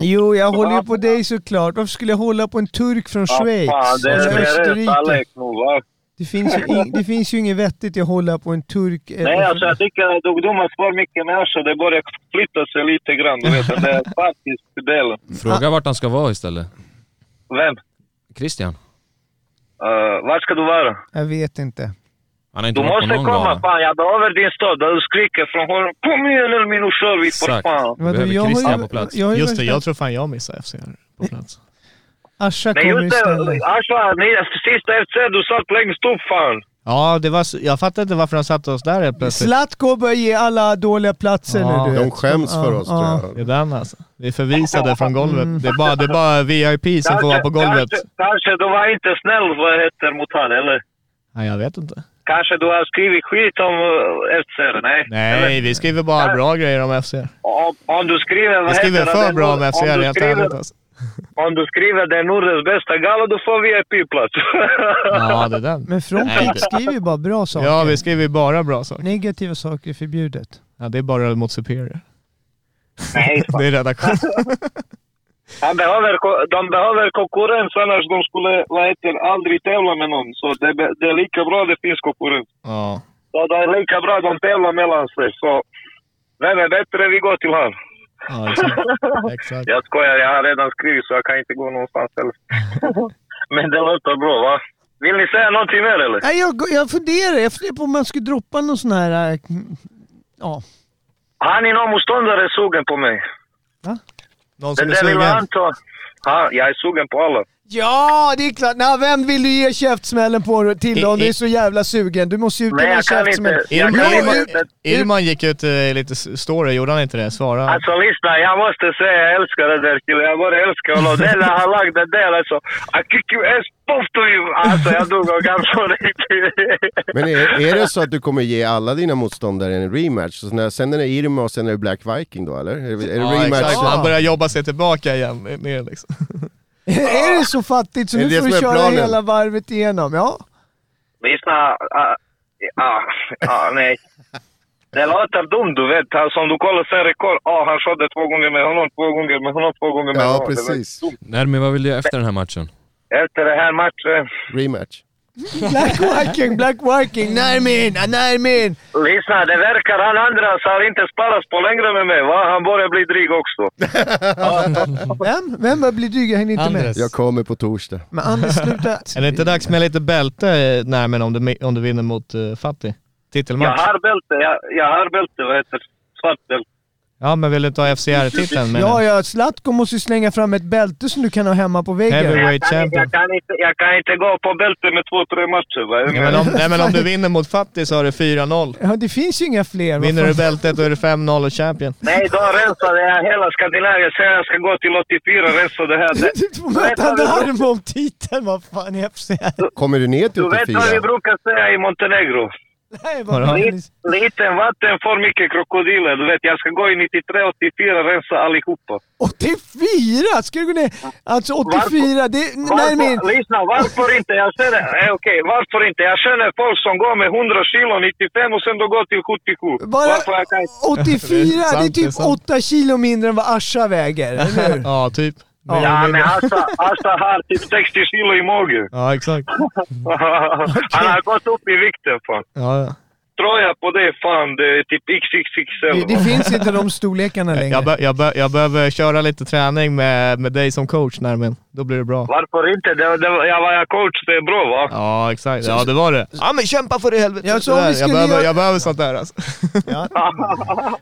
Speaker 6: Jo, jag håller ju på dig såklart. Varför skulle jag hålla på en turk från Schweiz?
Speaker 9: Ja, fan, det är
Speaker 6: Eller
Speaker 9: det är rätt
Speaker 6: Österrike?
Speaker 9: Alec nu va?
Speaker 6: Det finns, ju ing- det finns ju inget vettigt i att hålla på en turk. eller-
Speaker 9: Nej, alltså jag tycker att ungdomar spar mycket med så det börjar flytta sig lite grann. Du vet, den där faktiska delen.
Speaker 7: Fråga vart han ska vara istället.
Speaker 9: Vem?
Speaker 7: Christian.
Speaker 9: Uh, var ska du vara?
Speaker 6: Jag vet inte.
Speaker 7: Han har inte
Speaker 9: Du
Speaker 7: varit på
Speaker 9: måste
Speaker 7: någon
Speaker 9: komma
Speaker 7: gala.
Speaker 9: fan, jag behöver din stad. Du skriker från honom. Kom igen Elmin, nu kör vi för
Speaker 7: Exakt.
Speaker 9: fan.
Speaker 6: Vadå,
Speaker 7: Behöver
Speaker 6: har ju-
Speaker 7: Christian på plats.
Speaker 6: Jag har ju
Speaker 5: Just det,
Speaker 6: varit-
Speaker 5: jag tror fan jag missar FC här på plats.
Speaker 6: Asha
Speaker 9: Men
Speaker 6: kommer
Speaker 9: just
Speaker 6: istället.
Speaker 9: det, Asha, ni- sista FC, du satt längst upp fan.
Speaker 5: Ja, det var, s- jag fattar inte varför de satte oss där helt plötsligt.
Speaker 6: Zlatko börjar ge alla dåliga platser
Speaker 5: Ja.
Speaker 6: nu du
Speaker 8: De
Speaker 6: vet.
Speaker 8: skäms
Speaker 6: Ja,
Speaker 8: för oss
Speaker 6: ja.
Speaker 8: tror
Speaker 5: Det är
Speaker 8: jag.
Speaker 5: den alltså. Vi är
Speaker 9: Mm.
Speaker 5: förvisade från golvet. Det är bara, det är bara VIP som får vara på golvet.
Speaker 9: Kanske, kanske du var inte snäll vad heter, mot han eller?
Speaker 5: Nej, jag vet inte.
Speaker 9: Kanske du har skrivit skit om eh, FC? Nej.
Speaker 5: Nej,
Speaker 9: Eller?
Speaker 5: vi skriver bara bra grejer om FC.
Speaker 9: Om, om du skriver...
Speaker 5: Vi
Speaker 9: vad
Speaker 5: skriver
Speaker 9: heter
Speaker 5: för
Speaker 9: den?
Speaker 5: bra om FC,
Speaker 9: du
Speaker 5: rent
Speaker 9: skriver-
Speaker 5: ärligt alltså.
Speaker 9: Om du skriver den Nordens bästa gala, du får
Speaker 5: <laughs>
Speaker 9: VIP-plats.
Speaker 5: Ja, det är den.
Speaker 6: Men
Speaker 5: Nej,
Speaker 6: Frontex
Speaker 5: det-
Speaker 6: skriver ju bara bra saker.
Speaker 5: Ja, vi skriver bara bra saker.
Speaker 6: Negativa saker är förbjudet.
Speaker 5: Ja, det är bara mot Superior.
Speaker 9: Nej, fan.
Speaker 5: Det är redaktion.
Speaker 9: Han behöver, ko- de behöver konkurrens, annars de skulle vad heter, aldrig tävla med någon. Så det, be- det är lika bra det finns konkurrens.
Speaker 5: Ja.
Speaker 9: Så det är lika bra de tävlar mellan sig. Så vem är bättre, vi går till han.
Speaker 5: Ja, exakt. exakt.
Speaker 9: Jag skojar, jag har redan skrivit så jag kan inte gå någonstans heller.
Speaker 5: <laughs>
Speaker 9: Men det låter bra, va? Vill ni säga någonting mer eller?
Speaker 6: Nej, jag, jag funderar. Jag funderar på om man skulle droppa någon sån här... äh, Ja.
Speaker 9: Har ni någon motståndare sugen på mig?
Speaker 5: Någon
Speaker 9: Den
Speaker 5: som är
Speaker 9: där lilla
Speaker 5: sugen?
Speaker 9: Anton. Ja, jag är sugen på alla.
Speaker 6: Ja, det är klart. Nej, vem vill du ge käftsmällen på till då, om du är så jävla sugen? Du måste ju ut
Speaker 9: Nej,
Speaker 6: den här
Speaker 9: jag kan
Speaker 6: käftsmällen.
Speaker 9: inte. Jag kan
Speaker 6: Jo,
Speaker 9: inte.
Speaker 6: jo,
Speaker 5: Irman gick ut eh, lite s- story, gjorde han inte det? Svara.
Speaker 9: Alltså lyssna, jag måste säga jag älskar den där killen. Jag bara älskar honom. Det när han lagt den där alltså. I kick you ass, puff to you! Alltså jag dog av gamla
Speaker 8: <laughs> Men är, är det så att du kommer ge alla dina motståndare en rematch? Så när, sen är det Irma och sen är det Black Viking då eller? Är det, är det
Speaker 5: Ja,
Speaker 8: rematch?
Speaker 5: exakt. Han börjar jobba sig tillbaka igen. med- med Liksom.
Speaker 6: Är det så fattigt så
Speaker 8: Är det
Speaker 6: nu
Speaker 8: det
Speaker 6: får
Speaker 8: som
Speaker 6: du
Speaker 8: är
Speaker 6: köra
Speaker 8: planen?
Speaker 6: hela varvet igenom? Ja.
Speaker 9: Lyssna, ah, ah, ah, nej. Det låter dumt du vet. Han som du kollar sen rekord. Ah, han körde två gånger med honom, två gånger med honom, två gånger med
Speaker 8: Ja,
Speaker 9: honom. Det var
Speaker 8: precis.
Speaker 9: dumt.
Speaker 7: Nej men vad vill du efter den här matchen?
Speaker 9: Efter den här matchen.
Speaker 8: Rematch.
Speaker 6: Black Viking, Black Viking, närmin, närmin.
Speaker 9: Lyssna, det verkar han andra så har inte sparats på längre med mig va? Han börjar bli dryg också.
Speaker 6: Vem? Vem var- blir dryg? Jag hänger inte med.
Speaker 4: Andres.
Speaker 8: Jag kommer på torsdag.
Speaker 6: Men Anders, sluta.
Speaker 5: <laughs> Är det inte dags med lite bälte eh, närmen om du, mi- om du vinner mot uh, Fatih?
Speaker 9: Jag
Speaker 5: Titelmatch?
Speaker 9: har bälte, jag, jag har bälte. Vad heter det? Svart bälte.
Speaker 5: Ja, men vill du ta FCR-titeln med
Speaker 6: Ja, ja, Zlatko måste ju slänga fram ett bälte som du kan ha hemma på väggen.
Speaker 5: Heavyweight
Speaker 9: Jag kan inte-
Speaker 5: champion?
Speaker 9: Jag kan, inte, jag kan inte gå på bälte med två, tre matcher. Va?
Speaker 5: Nej men, om, nej men om du vinner mot Fatih så har du 4-0.
Speaker 6: Ja, det finns ju inga fler. vad
Speaker 5: Vinner du
Speaker 6: fan.
Speaker 5: bältet då är det 5-0 och champion.
Speaker 9: Nej, då rensade jag hela Skandinavien. Sen jag ska gå till 84 och rensa det
Speaker 5: <laughs>
Speaker 9: här. Det-
Speaker 6: Du <laughs> får möta
Speaker 9: Vänta, vi-
Speaker 6: Darmo om titeln, vad fan är FCR?
Speaker 8: Kommer du ner till
Speaker 9: Du vet
Speaker 8: 84?
Speaker 9: vad vi brukar säga i Montenegro?
Speaker 6: Nej, vad
Speaker 5: Vadå?
Speaker 6: fan.
Speaker 9: Liten vatten får mycket krokodiler. Du vet, jag ska gå i 93, 84 och rensa allihopa.
Speaker 6: 84! Ska du gå ner? Alltså 84, det är närmin.
Speaker 9: Varför, lyssna, varför inte? Jag känner, eh, okej, varför inte? Jag känner folk som går med 100 kilo 95 och sen då går till 77.
Speaker 6: Bara
Speaker 9: Varför jag kan...
Speaker 6: 84,
Speaker 5: Det är sant,
Speaker 6: det är
Speaker 5: det är
Speaker 6: typ
Speaker 5: sant.
Speaker 6: 8 kilo mindre än vad Asha
Speaker 5: <laughs>
Speaker 6: väger, eller hur?
Speaker 5: Ja, typ.
Speaker 9: Ja, men Asta, Asta har typ 60 kilo i magen.
Speaker 5: Ja, exakt.
Speaker 9: Mm. Han har gått upp i vikten fan.
Speaker 5: Ja, ja.
Speaker 9: Tröja på det fan, det är typ XXXL.
Speaker 6: Det, det finns inte de storlekarna
Speaker 5: Jag,
Speaker 6: längre.
Speaker 5: be, jag, be, jag behöver köra lite träning med, med dig som coach närmen. Då blir det bra.
Speaker 9: Varför inte? Det, det, jag var jag coach, det är bra
Speaker 5: <laughs>
Speaker 9: va?
Speaker 5: Ja, exakt. Ja, det var det. Ja, men kämpa för det i helvete.
Speaker 6: Ja, så om
Speaker 5: Det där.
Speaker 6: vi
Speaker 5: jag,
Speaker 6: skulle
Speaker 5: behöver,
Speaker 6: göra-
Speaker 5: jag behöver sånt där alltså.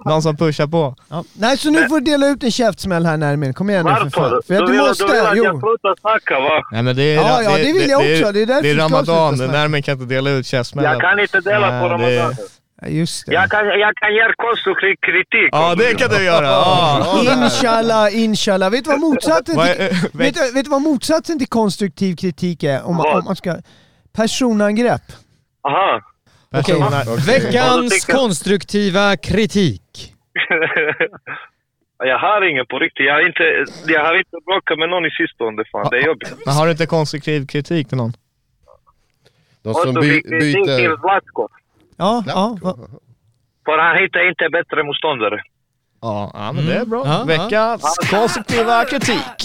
Speaker 5: Någon som pushar på.
Speaker 6: Ja. Nej, så nu får du dela ut en käftsmäll här Nermin. Kom igen nu för fan.
Speaker 9: Varför?
Speaker 6: För att
Speaker 9: du,
Speaker 6: du
Speaker 9: vill, du vill
Speaker 6: måste.
Speaker 9: att jag
Speaker 6: Jo.
Speaker 9: slutar snacka va?
Speaker 5: Nej, men det är,
Speaker 6: Ja, ja, det vill jag också. Det är därför
Speaker 5: det är
Speaker 6: jag ska
Speaker 5: ramadan.
Speaker 6: sluta snacka.
Speaker 5: Närmen kan inte dela ut käftsmällar.
Speaker 9: Jag kan inte dela
Speaker 5: Nej,
Speaker 9: på
Speaker 5: det-
Speaker 9: ramadan.
Speaker 6: Ja, just det.
Speaker 9: Jag kan, jag kan ge konstruktiv kritik.
Speaker 5: Ja, det kan du göra. Ja.
Speaker 6: Inshallah, inshallah. Vet du vad motsatsen
Speaker 5: Vad är-
Speaker 6: till, vet, du- vet du vad motsatsen till konstruktiv kritik är? Om,
Speaker 9: Vad?
Speaker 6: om man ska... Personangrepp.
Speaker 9: Aha. <laughs>
Speaker 4: Okej, Veckans
Speaker 9: Okej.
Speaker 4: konstruktiva kritik.
Speaker 9: jag har ingen på riktigt. Jag har inte, jag har inte bråkat med någon i sistone fan. Det är jobbigt.
Speaker 5: Men har du inte konstruktiv kritik till någon?
Speaker 8: De
Speaker 9: Och
Speaker 8: som
Speaker 9: så
Speaker 8: by,
Speaker 9: fick kritik till
Speaker 8: byter...
Speaker 9: Zlatko.
Speaker 6: Ja, ja. va-
Speaker 9: För han hittar inte bättre motståndare.
Speaker 5: Ja, Mm. ja men det är bra.
Speaker 4: Ja,
Speaker 5: Veckans konstruktiva kritik.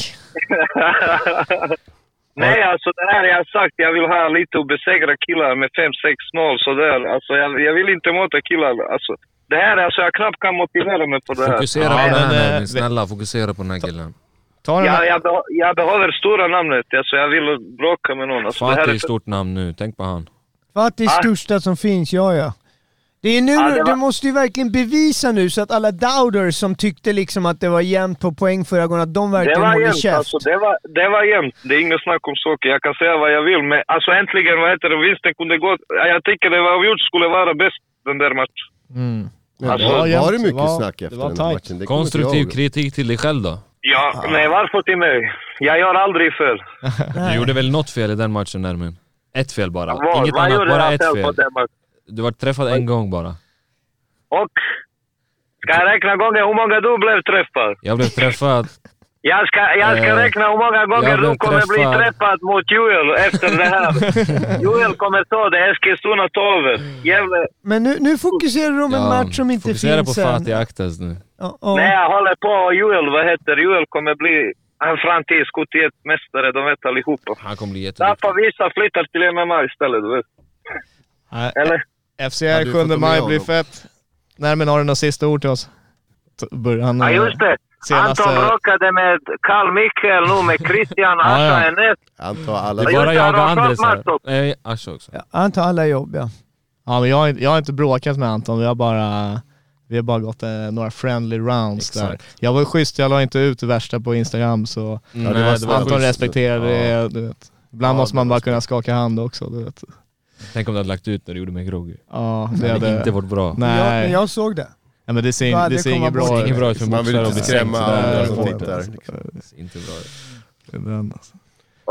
Speaker 9: Nej, alltså det här jag har sagt, jag vill ha lite obesegrade killar med 5-6-0 sådär. Alltså jag, jag vill inte möta killar. Alltså, det här, alltså jag knappt kan motivera mig på det här.
Speaker 7: Fokusera
Speaker 5: Ja,
Speaker 7: på den
Speaker 5: men,
Speaker 7: här
Speaker 5: eh,
Speaker 7: Nermin,
Speaker 5: vi-
Speaker 7: snälla fokusera på den här killen.
Speaker 5: Ta den
Speaker 9: Jag,
Speaker 5: här.
Speaker 9: jag, beho- jag behöver stora namnet, alltså jag vill bråka med någon. Alltså, det här
Speaker 7: Fatih är
Speaker 9: är...
Speaker 7: stort namn nu, tänk på han.
Speaker 6: Fattig
Speaker 9: Ah.
Speaker 6: största som finns, ja ja. Det är nu,
Speaker 9: Ja, det var-
Speaker 6: du måste ju verkligen bevisa nu så att alla doubters som tyckte liksom att det var jämnt på poäng förra gången, att de
Speaker 9: Det
Speaker 6: verkligen
Speaker 9: var
Speaker 6: håller
Speaker 9: jämnt,
Speaker 6: käft.
Speaker 9: alltså, det, var, det var jämnt. Det är inget snack om saker. Jag kan säga vad jag vill, men alltså äntligen, vad heter det, vinsten kunde gå. Jag tycker det var avgjort skulle vara bäst, den där matchen.
Speaker 8: Men
Speaker 9: Alltså,
Speaker 8: var,
Speaker 5: jämnt.
Speaker 8: var det
Speaker 5: Det
Speaker 8: mycket
Speaker 5: var-
Speaker 8: snack
Speaker 5: det
Speaker 8: efter
Speaker 5: var
Speaker 8: den här
Speaker 5: tight.
Speaker 8: matchen? Det kommer inte jag
Speaker 7: Konstruktiv
Speaker 8: ihåg.
Speaker 7: kritik till dig själv då?
Speaker 9: Ja,
Speaker 7: Ah.
Speaker 9: nej varför till mig? Jag gör aldrig fel.
Speaker 7: Du gjorde väl något fel i den matchen Nermin? Ett fel bara.
Speaker 9: Vad-
Speaker 7: Inget
Speaker 9: vad
Speaker 7: annat,
Speaker 9: gjorde
Speaker 7: bara
Speaker 9: han
Speaker 7: ett
Speaker 9: själv på
Speaker 7: fel.
Speaker 9: den matchen?
Speaker 7: Du var träffad en gång bara.
Speaker 9: Och? Ska jag räkna gånger hur många du blev träffad?
Speaker 7: Jag blev
Speaker 6: <laughs>
Speaker 7: träffad,
Speaker 9: Jag ska, jag ska
Speaker 7: Eh,
Speaker 9: räkna hur många gånger
Speaker 7: jag blev
Speaker 9: du kommer bli
Speaker 7: träffad.
Speaker 9: träffad mot Joel efter det
Speaker 7: <laughs>
Speaker 9: här. Joel kommer ta det Eskilstuna-torvet. Gävle...
Speaker 6: Men nu, nu fokuserar du om en match som inte
Speaker 7: fokusera
Speaker 6: finns
Speaker 7: på
Speaker 6: än.
Speaker 7: Fatih Aktas nu.
Speaker 6: Ja, ja.
Speaker 9: Nej, jag håller på. och Joel, vad heter Joel kommer bli en framtids 71-mästare, de vet allihopa.
Speaker 7: Han kommer bli jätteduktig.
Speaker 9: Därför vissa flyttar till MMA istället, du vet.
Speaker 5: Nej,
Speaker 9: Eller?
Speaker 5: FCR
Speaker 8: du får
Speaker 5: 7
Speaker 8: ta
Speaker 5: maj
Speaker 8: med
Speaker 5: blir
Speaker 8: honom.
Speaker 5: fett. Närmen har du något sista ord till oss? T- bör- Han,
Speaker 9: Ja,
Speaker 5: eh,
Speaker 9: just det.
Speaker 5: senaste-
Speaker 9: Anton bråkade med Karl Mikael nu med Christian
Speaker 7: <laughs>
Speaker 9: Asha
Speaker 7: ja.
Speaker 9: Enes.
Speaker 8: Han tar alla...
Speaker 7: Det är
Speaker 9: Ja,
Speaker 7: bara
Speaker 9: just det,
Speaker 7: jag och
Speaker 9: han har
Speaker 7: Andres här.
Speaker 9: snart match
Speaker 7: Nej, Asha också.
Speaker 6: Ja, Han tar alla jobb ja.
Speaker 5: Ja, men jag, har- jag har inte bråkat med Anton, vi har bara, vi har bara gått eh, några friendly rounds där.
Speaker 7: Exakt.
Speaker 5: Jag var schysst, jag la inte ut det värsta på Instagram så
Speaker 7: Nej,
Speaker 8: det var
Speaker 7: det var
Speaker 5: Anton
Speaker 7: schysst.
Speaker 5: respekterade det. Du vet. Ibland
Speaker 8: Ja,
Speaker 5: måste
Speaker 8: det
Speaker 5: man
Speaker 8: var
Speaker 5: bara kunna skaka hand också. Du vet.
Speaker 7: Tänk om du hade lagt ut när du gjorde mig groggy.
Speaker 5: Ja, det
Speaker 7: Det hade
Speaker 5: hade...
Speaker 7: inte varit bra.
Speaker 6: Jag, men
Speaker 5: Nej,
Speaker 6: jag såg det.
Speaker 5: ja, men det
Speaker 6: Då
Speaker 5: ser,
Speaker 6: hade
Speaker 5: det
Speaker 6: jag
Speaker 5: ser inget
Speaker 6: kommit
Speaker 5: bra
Speaker 6: bort.
Speaker 7: Det är
Speaker 5: ut.
Speaker 7: inget bra ut för
Speaker 8: Man vill
Speaker 7: boxare
Speaker 8: inte
Speaker 7: att bli
Speaker 8: skrämma
Speaker 7: sänkt sådär.
Speaker 8: andra
Speaker 7: Det
Speaker 8: som
Speaker 7: går
Speaker 8: tittar.
Speaker 7: inte. Det är Inte bra.
Speaker 5: Den, alltså.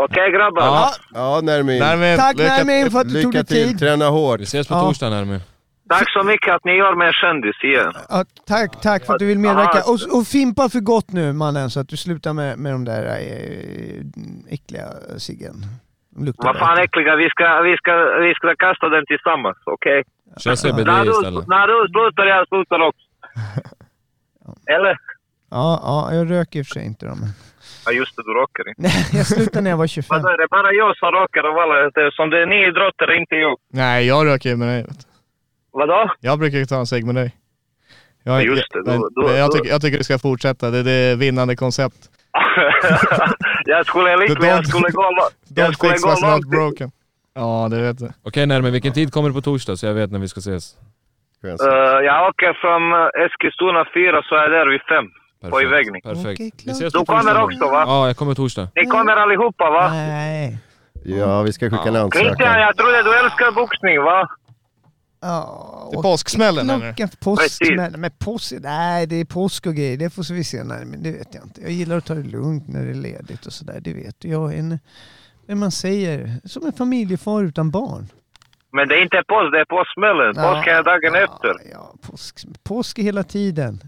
Speaker 9: Okej grabbar?
Speaker 5: Ja,
Speaker 8: Ja, Nermin.
Speaker 5: Nermin,
Speaker 6: Tack
Speaker 5: lycka-
Speaker 6: Nermin för att du tog
Speaker 8: Lycka
Speaker 6: dig
Speaker 8: till,
Speaker 6: tid.
Speaker 8: träna hårt.
Speaker 7: Vi ses på
Speaker 6: Ja.
Speaker 7: torsdag Nermin.
Speaker 9: Tack så mycket att ni gör mig en kändis igen.
Speaker 6: Ja, tack, tack för att du vill medverka. Och, och fimpa för gott nu mannen så att du slutar med, med de där eh, äckliga ciggen. De luktar
Speaker 9: Vad fan äckliga, vi ska, vi ska, vi ska kasta den tillsammans, okej?
Speaker 7: Kör
Speaker 5: Alltså,
Speaker 9: När,
Speaker 7: CBD
Speaker 9: du-
Speaker 7: istället.
Speaker 9: när du slutar, jag slutar
Speaker 7: <laughs>
Speaker 9: också. Eller?
Speaker 6: Ja, ja, jag röker i och för sig inte dem.
Speaker 9: Ja just det, du rockar inte.
Speaker 6: Nej, jag slutade
Speaker 9: <laughs>
Speaker 6: när jag var 25.
Speaker 9: Vadå, är det bara jag som rockar av alla? Det är Som det är ni idrottare, inte jag.
Speaker 5: Nej, jag röker ju med dig. vet du.
Speaker 9: Vadå? <laughs>
Speaker 5: Jag brukar ju ta en cigg med dig. Jag,
Speaker 9: Ja, just det. Då-
Speaker 5: men,
Speaker 9: då-
Speaker 5: men jag,
Speaker 9: då-
Speaker 5: tycker, jag tycker du ska fortsätta, det, det är vinnande koncept.
Speaker 9: jag skulle likväl, jag skulle
Speaker 7: <laughs>
Speaker 9: gå, lo- jag
Speaker 5: Don't
Speaker 9: skulle
Speaker 5: fix what's
Speaker 9: gå
Speaker 5: not
Speaker 9: långt. i-
Speaker 5: broken. Ja, det vet du.
Speaker 7: Okej Nermin, vilken tid kommer du på torsdag så jag vet när vi ska ses?
Speaker 9: Eh, jag åker från eh, Eskilstuna 4 så är jag där vid 5. På ivägning.
Speaker 7: Perfekt.
Speaker 6: Okej,
Speaker 7: vi
Speaker 6: klart.
Speaker 7: ses på
Speaker 9: Du
Speaker 7: torsdag.
Speaker 9: kommer
Speaker 7: då.
Speaker 9: också va?
Speaker 7: Ja, jag kommer torsdag.
Speaker 9: Ni kommer allihopa va?
Speaker 6: Nej.
Speaker 8: Ja, vi ska skicka en
Speaker 9: Christian,
Speaker 8: ansökan.
Speaker 9: jag trodde du älskar boxning va?
Speaker 6: Ja,
Speaker 5: Det är påsksmällen eller?
Speaker 6: Klockan påsksmällen. Men påsk, nej det är påsk och grejer, det får vi se. Nej, men det vet jag inte. Jag gillar att ta det lugnt när det är ledigt och sådär, det vet du. Jag är en, men man säger, som en familjefar utan barn.
Speaker 9: Men det är inte påsk, det är påsksmällen. Påsk är dagen efter.
Speaker 6: Ja, påsk, påsk är hela tiden.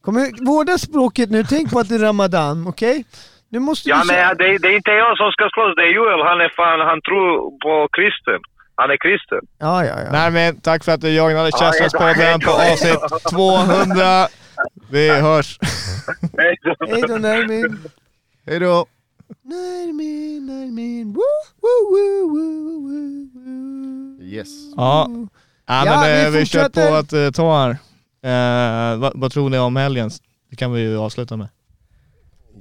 Speaker 6: Kom, ihåg- vårda språket nu, tänk på att det är Ramadan, okej? Nu måste
Speaker 9: Ja
Speaker 6: du...
Speaker 9: men
Speaker 6: säga-
Speaker 9: ja, det, är- det är inte jag som ska slåss, det är Joel. Han är fan, han tror på kristen. Han är kristen.
Speaker 6: ja, ja, ja.
Speaker 5: Nej men tack för att du joinade
Speaker 9: Ja,
Speaker 5: Käftsmällspodden
Speaker 9: hej
Speaker 5: på
Speaker 9: då, hej
Speaker 5: avsnitt 200. Vi hörs.
Speaker 6: Hej då Nermin.
Speaker 8: Hej då!
Speaker 6: Nermin, Nermin. Woo, woo, woo, woo, woo, woo.
Speaker 8: Yes.
Speaker 5: Ja, ja,
Speaker 6: Ja,
Speaker 5: men,
Speaker 6: vi
Speaker 5: eh, vi, kör på
Speaker 6: fortsätter.
Speaker 5: att eh, ta här. Eh, vad, vad tror ni om helgen? Det kan vi ju avsluta med.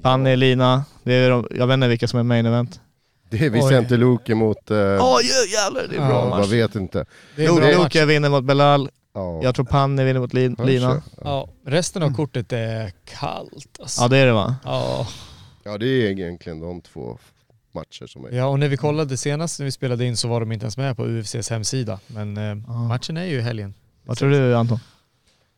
Speaker 5: Panni, Lina, det är de, jag vet inte vilka som är main event.
Speaker 8: Det är Vicente Luque mot... eh,
Speaker 5: Åh jävlar, det är bra
Speaker 8: jag vet inte.
Speaker 4: Det är en bra match.
Speaker 5: Luka vinner mot Belal,
Speaker 8: Ja.
Speaker 5: jag tror Panni vinner mot Lin, Lina.
Speaker 4: Ja, resten av kortet är kallt alltså.
Speaker 5: Ja det är det va?
Speaker 4: Ja.
Speaker 8: Ja, det är egentligen de två matcher som är...
Speaker 4: Ja, och när vi kollade senast när vi spelade in så var de inte ens med på UFCs hemsida. Men eh, matchen är ju i helgen.
Speaker 5: Vad tror du Anton?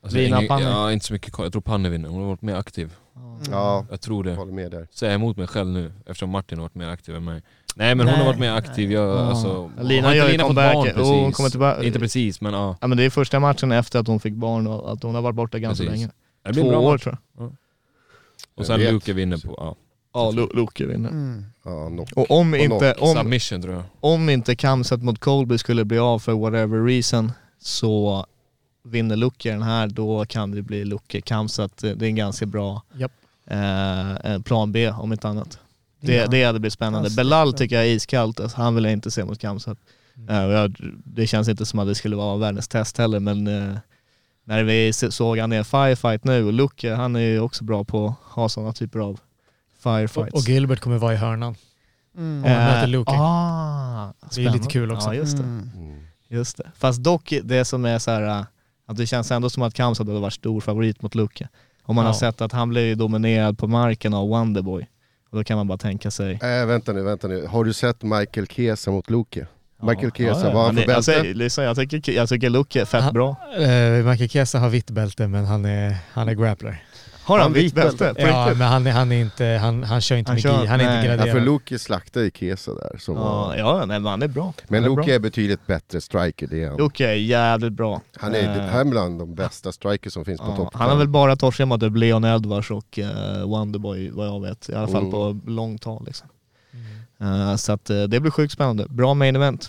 Speaker 7: Alltså,
Speaker 5: Lina,
Speaker 7: ingen-
Speaker 5: Panne.
Speaker 7: Ja, inte så mycket koll. Jag tror Panne vinner. Hon har varit mer aktiv.
Speaker 6: Mm.
Speaker 8: Ja,
Speaker 7: Jag tror
Speaker 8: jag
Speaker 7: det.
Speaker 8: håller med där.
Speaker 7: Säger emot mig själv nu eftersom Martin har varit mer aktiv än mig. Nej men hon
Speaker 6: Nej,
Speaker 7: har varit mer aktiv. Jag, alltså,
Speaker 5: Lina
Speaker 7: har inte
Speaker 5: gör ju
Speaker 7: fått
Speaker 5: comeback.
Speaker 7: barn
Speaker 5: Jo,
Speaker 7: precis.
Speaker 5: hon kommer tillbaka.
Speaker 7: Inte precis men ja.
Speaker 5: Ja men det är första matchen efter att hon fick barn och att hon har varit borta ganska
Speaker 7: Precis.
Speaker 5: länge. Två
Speaker 7: Det blir en bra
Speaker 5: år
Speaker 7: match.
Speaker 5: tror jag.
Speaker 7: Och sen
Speaker 8: Jag vet.
Speaker 7: Luke vinner på ja.
Speaker 5: Ja, Lu- Luke vinner.
Speaker 6: Mm.
Speaker 8: Ja, no.
Speaker 5: Och om inte, om,
Speaker 7: submission tror jag.
Speaker 5: om inte Kamset mot Colby skulle bli av för whatever reason så vinner Luke den här, då kan det bli Luke Kamset. eh, Det är en ganska bra
Speaker 4: Japp.
Speaker 5: eh, eh, plan B om inte annat. Det,
Speaker 6: Ja.
Speaker 5: det hade blivit spännande.
Speaker 4: Alltså,
Speaker 6: Kamsat,
Speaker 5: Belal
Speaker 6: ja.
Speaker 5: tycker jag är iskallt. Alltså, han vill jag inte se mot Kamset.
Speaker 4: Mm.
Speaker 5: Eh, och jag, det känns inte som att det skulle vara världens test heller men eh, när vi se- såg han i en firefight nu och Luke han är ju också bra på att ha sådana typer av
Speaker 4: Och,
Speaker 5: firefights.
Speaker 4: och Gilbert kommer vara i hörnan.
Speaker 6: Mm.
Speaker 5: Eh,
Speaker 4: Om han möter Luke.
Speaker 5: Ah,
Speaker 4: Det är lite
Speaker 5: spännande.
Speaker 4: kul också.
Speaker 5: Ja, just det.
Speaker 6: Mm.
Speaker 5: Just det. Fast dock det som är så här, äh, att det känns ändå som att Kamsat hade varit stor favorit mot Luke. Om man
Speaker 4: Ja.
Speaker 5: har sett att han blev ju dominerad på marken av Wonderboy. Och då kan man bara tänka sig,
Speaker 8: Eh, Äh, vänta nu, vänta nu. Har du sett Michael Kesa mot Luque? Michael Chiesa,
Speaker 5: Ja,
Speaker 8: vad har han
Speaker 5: men alltså,
Speaker 8: för
Speaker 5: jag,
Speaker 8: bälte?
Speaker 5: säger, lyssna, jag tycker, jag tycker Luke är fett
Speaker 4: Han-
Speaker 5: bra.
Speaker 4: Eh, Michael Chiesa har vitt bälte men han är, han är grappler.
Speaker 5: Har han,
Speaker 8: han
Speaker 5: vitt
Speaker 8: vitt
Speaker 5: bälte? På
Speaker 4: Ja,
Speaker 5: riktigt?
Speaker 4: men han, är- han, är inte, han, han kör inte
Speaker 5: Han
Speaker 4: med
Speaker 5: kör-
Speaker 4: gi, han är
Speaker 5: nej.
Speaker 4: inte
Speaker 8: Ja, för
Speaker 4: graderad.
Speaker 8: Luke slaktade ju Chiesa där. Som
Speaker 5: Ja,
Speaker 8: var...
Speaker 5: ja nej, men han är bra.
Speaker 8: Men
Speaker 5: han är
Speaker 8: Luke
Speaker 5: bra.
Speaker 8: är betydligt bättre striker, det är han.
Speaker 5: Luke är jävligt bra.
Speaker 8: Han är,
Speaker 5: Eh,
Speaker 8: han är bland de bästa strikers som finns på
Speaker 5: ja,
Speaker 8: topp.
Speaker 5: han har väl bara torskat mot typ Leon Edwards och eh, Wonderboy vad jag vet. I alla fall
Speaker 8: Mm.
Speaker 5: på långtal liksom.
Speaker 4: Mm.
Speaker 5: Eh, så att eh, det blir sjukt spännande. Bra main event.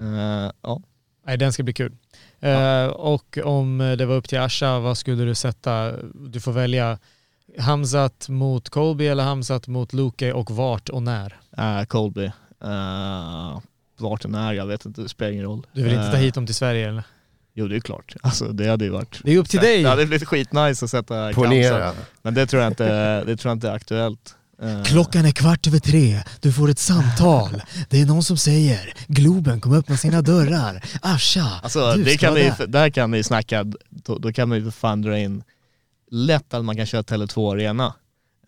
Speaker 5: Eh, ja.
Speaker 4: Nej, den ska bli kul. Eh, och om det var upp till Asha, vad skulle du sätta? Du får välja Hamzat mot Colby eller Hamzat mot Luke och vart och när?
Speaker 5: Eh, Colby. Uh, vart den är, jag vet inte, det spelar ingen roll.
Speaker 4: Du vill inte ta
Speaker 5: Eh,
Speaker 4: hit dem till Sverige eller? Jo,
Speaker 5: Jo det är klart, alltså det hade ju varit...
Speaker 4: Det är upp till dig.
Speaker 5: Det hade blivit skitnice att sätta Kamsa.
Speaker 8: Ponera.
Speaker 5: Men det tror jag inte, det tror jag inte är aktuellt. Eh,
Speaker 4: är kvart över tre, du får ett samtal. Det är någon som säger Globen kom öppna sina dörrar. Asha,
Speaker 5: Alltså det kan ni, där kan ni snacka, då, då kan man ju för fan dra in lätt att man kan köra Tele2 Arena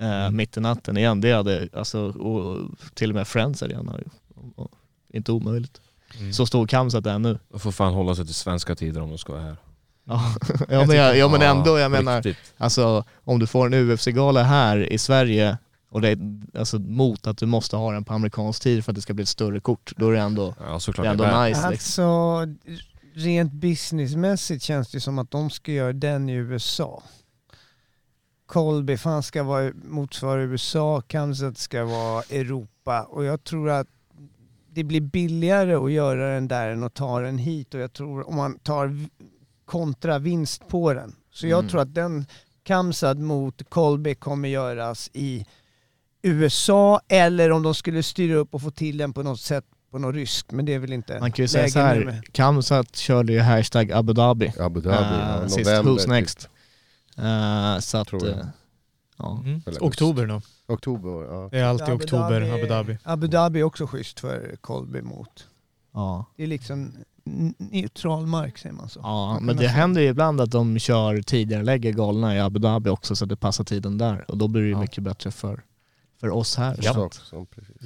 Speaker 5: eh,
Speaker 4: Mm.
Speaker 5: mitt i natten igen. Det hade, alltså, och, till och med Friends Arena. Och, och, inte omöjligt.
Speaker 4: Mm.
Speaker 5: Så stor Kamsat är nu.
Speaker 7: De får fan hålla sig till svenska tider om de ska vara här.
Speaker 5: <laughs> Ja, ja, men, jag, ja men ändå, jag menar,
Speaker 7: Riktigt.
Speaker 5: Alltså om du får en UFC-gala här i Sverige och det är alltså, mot att du måste ha den på amerikansk tid för att det ska bli ett större kort, då är det ändå,
Speaker 7: Ja
Speaker 5: det
Speaker 7: såklart.
Speaker 5: är
Speaker 7: Det
Speaker 5: ändå
Speaker 7: är-
Speaker 5: nice liksom.
Speaker 6: Alltså, rent businessmässigt känns det som att de ska göra den i USA. Colby fan ska vara motsvara USA, Kansas ska vara Europa och jag tror att det blir billigare att göra den där än att ta den hit och jag tror om man tar v- kontravinst på den. Så jag
Speaker 5: Mm.
Speaker 6: tror att den Kamsad mot Colby kommer göras i USA eller om de skulle styra upp och få till den på något sätt på något ryskt, men det är väl inte
Speaker 5: Man kan ju säga
Speaker 6: läge
Speaker 5: så
Speaker 6: nu med.
Speaker 5: här, Kamsat körde ju hashtag Abu Dhabi,
Speaker 8: Abu Dhabi, ja,
Speaker 5: eh,
Speaker 8: november.
Speaker 5: sist, Who's
Speaker 8: typ.
Speaker 5: Next. Eh, så att,
Speaker 8: Tror jag.
Speaker 5: eh, ja.
Speaker 4: Mm.
Speaker 8: Eller august.
Speaker 4: Oktober nog.
Speaker 8: Oktober, ja.
Speaker 4: Det är alltid
Speaker 6: Abu
Speaker 4: oktober,
Speaker 6: Dhabi-
Speaker 4: Abu Dhabi.
Speaker 6: Abu Dhabi är också schysst för Colby mot.
Speaker 5: ja.
Speaker 6: Det är liksom n- neutral mark säger man så.
Speaker 5: Ja, men alltså- det händer ju ibland att de kör tidigare, lägger galorna i Abu Dhabi också så att det passar tiden där och då blir det ju
Speaker 4: Ja.
Speaker 5: mycket bättre för, för oss här.
Speaker 4: Ja.
Speaker 5: Så att-
Speaker 8: Sak som precis.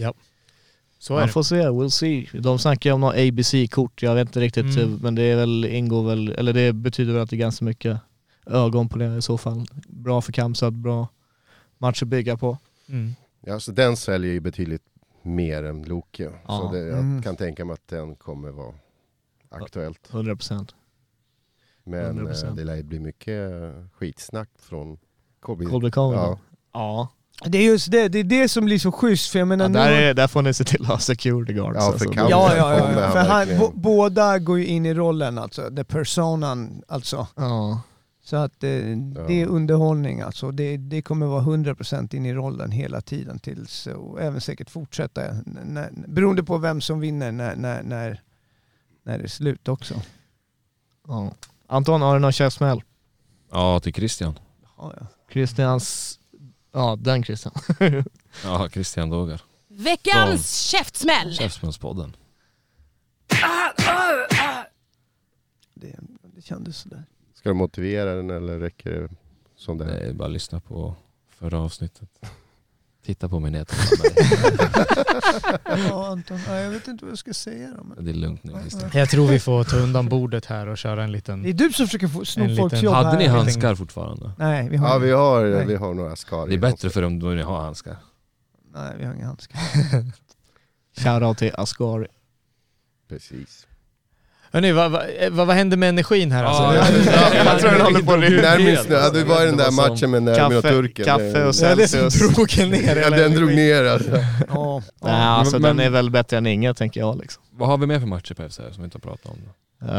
Speaker 4: Så är
Speaker 5: Man
Speaker 4: det.
Speaker 5: får se, we'll see. De snackar ju om något ABC-kort, jag vet inte riktigt, typ,
Speaker 4: Mm.
Speaker 5: men det är väl, ingår väl, eller det betyder väl att det är ganska mycket ögon på det i så fall. Bra för Kamsat, bra match att bygga på.
Speaker 4: Mm.
Speaker 8: Ja, så den säljer ju betydligt mer än Loke.
Speaker 5: Ja.
Speaker 8: Så det, jag
Speaker 6: Mm.
Speaker 8: kan tänka mig att den kommer vara aktuellt.
Speaker 5: 100%.
Speaker 8: Men eh,
Speaker 5: 100%.
Speaker 8: det lär ju bli mycket eh, skitsnack från Kobe.
Speaker 5: Colby Cohen.
Speaker 8: Ja.
Speaker 5: Ja. Ja.
Speaker 6: Det är just det, det är det som blir så schysst för jag menar
Speaker 5: där,
Speaker 6: nu...
Speaker 5: är, där får ni se till att ha security guards. alltså.
Speaker 8: Ja, för Kamsat-
Speaker 6: Ja, ja, ja,
Speaker 8: Kommer
Speaker 6: ja.
Speaker 8: han
Speaker 6: För han,
Speaker 8: verkligen.
Speaker 6: bo- båda går ju in i rollen alltså, the personan alltså.
Speaker 5: ja.
Speaker 6: Så att eh, det är underhållning alltså. Det, det kommer vara 100% in i rollen hela tiden tills, och även säkert fortsätta, n- när, beroende på vem som vinner när, när, när, när det är slut också.
Speaker 5: Ja. Anton, har du någon käftsmäll?
Speaker 7: Ja till Christian.
Speaker 6: Ja, ja.
Speaker 5: Christians... Ja, den Christian.
Speaker 7: Ja Christian Dogar.
Speaker 10: Veckans käftsmäll!
Speaker 7: Käftsmällspodden.
Speaker 6: Det, det kändes sådär.
Speaker 8: Ska du motivera den eller räcker det som det
Speaker 7: Det
Speaker 8: är?
Speaker 7: är bara att lyssna på förra avsnittet. Titta på mig nät.
Speaker 6: Ja, Anton, ja, jag vet inte vad jag ska säga då. Men...
Speaker 7: Det är lugnt nu Christian.
Speaker 4: <laughs> Jag tror vi får ta undan bordet här och köra en liten...
Speaker 6: Det är du som försöker få,
Speaker 4: En
Speaker 6: sno
Speaker 4: liten-
Speaker 6: folks jobb
Speaker 7: Hade ni
Speaker 6: här.
Speaker 7: handskar fortfarande?
Speaker 6: Nej, vi har,
Speaker 8: Ja, vi har,
Speaker 6: Nej.
Speaker 8: vi har några skar.
Speaker 7: Det är bättre för dem då ni har handskar.
Speaker 6: nej, vi har inga handskar.
Speaker 5: Shoutout till Asghar.
Speaker 8: Precis.
Speaker 4: Hörni, vad, vad, vad, vad händer med energin här alltså?
Speaker 7: Ja,
Speaker 4: <laughs>
Speaker 5: jag tror den håller på <laughs> att rinna.
Speaker 8: Närmast nu, ja, det var ju den där matchen med Nermin och
Speaker 5: Kaffe,
Speaker 8: turken.
Speaker 5: kaffe och
Speaker 4: Det är det som
Speaker 5: Celsius.
Speaker 4: drog er ner
Speaker 5: <laughs>
Speaker 8: Ja,
Speaker 4: hela
Speaker 8: den drog
Speaker 4: energin.
Speaker 8: ner alltså.
Speaker 6: Ja,
Speaker 5: Nej, alltså
Speaker 7: Men-
Speaker 5: den är väl bättre än inget tänker jag liksom.
Speaker 7: Vad har vi mer för matcher på FCR som vi inte har pratat om? Då?
Speaker 5: Eh,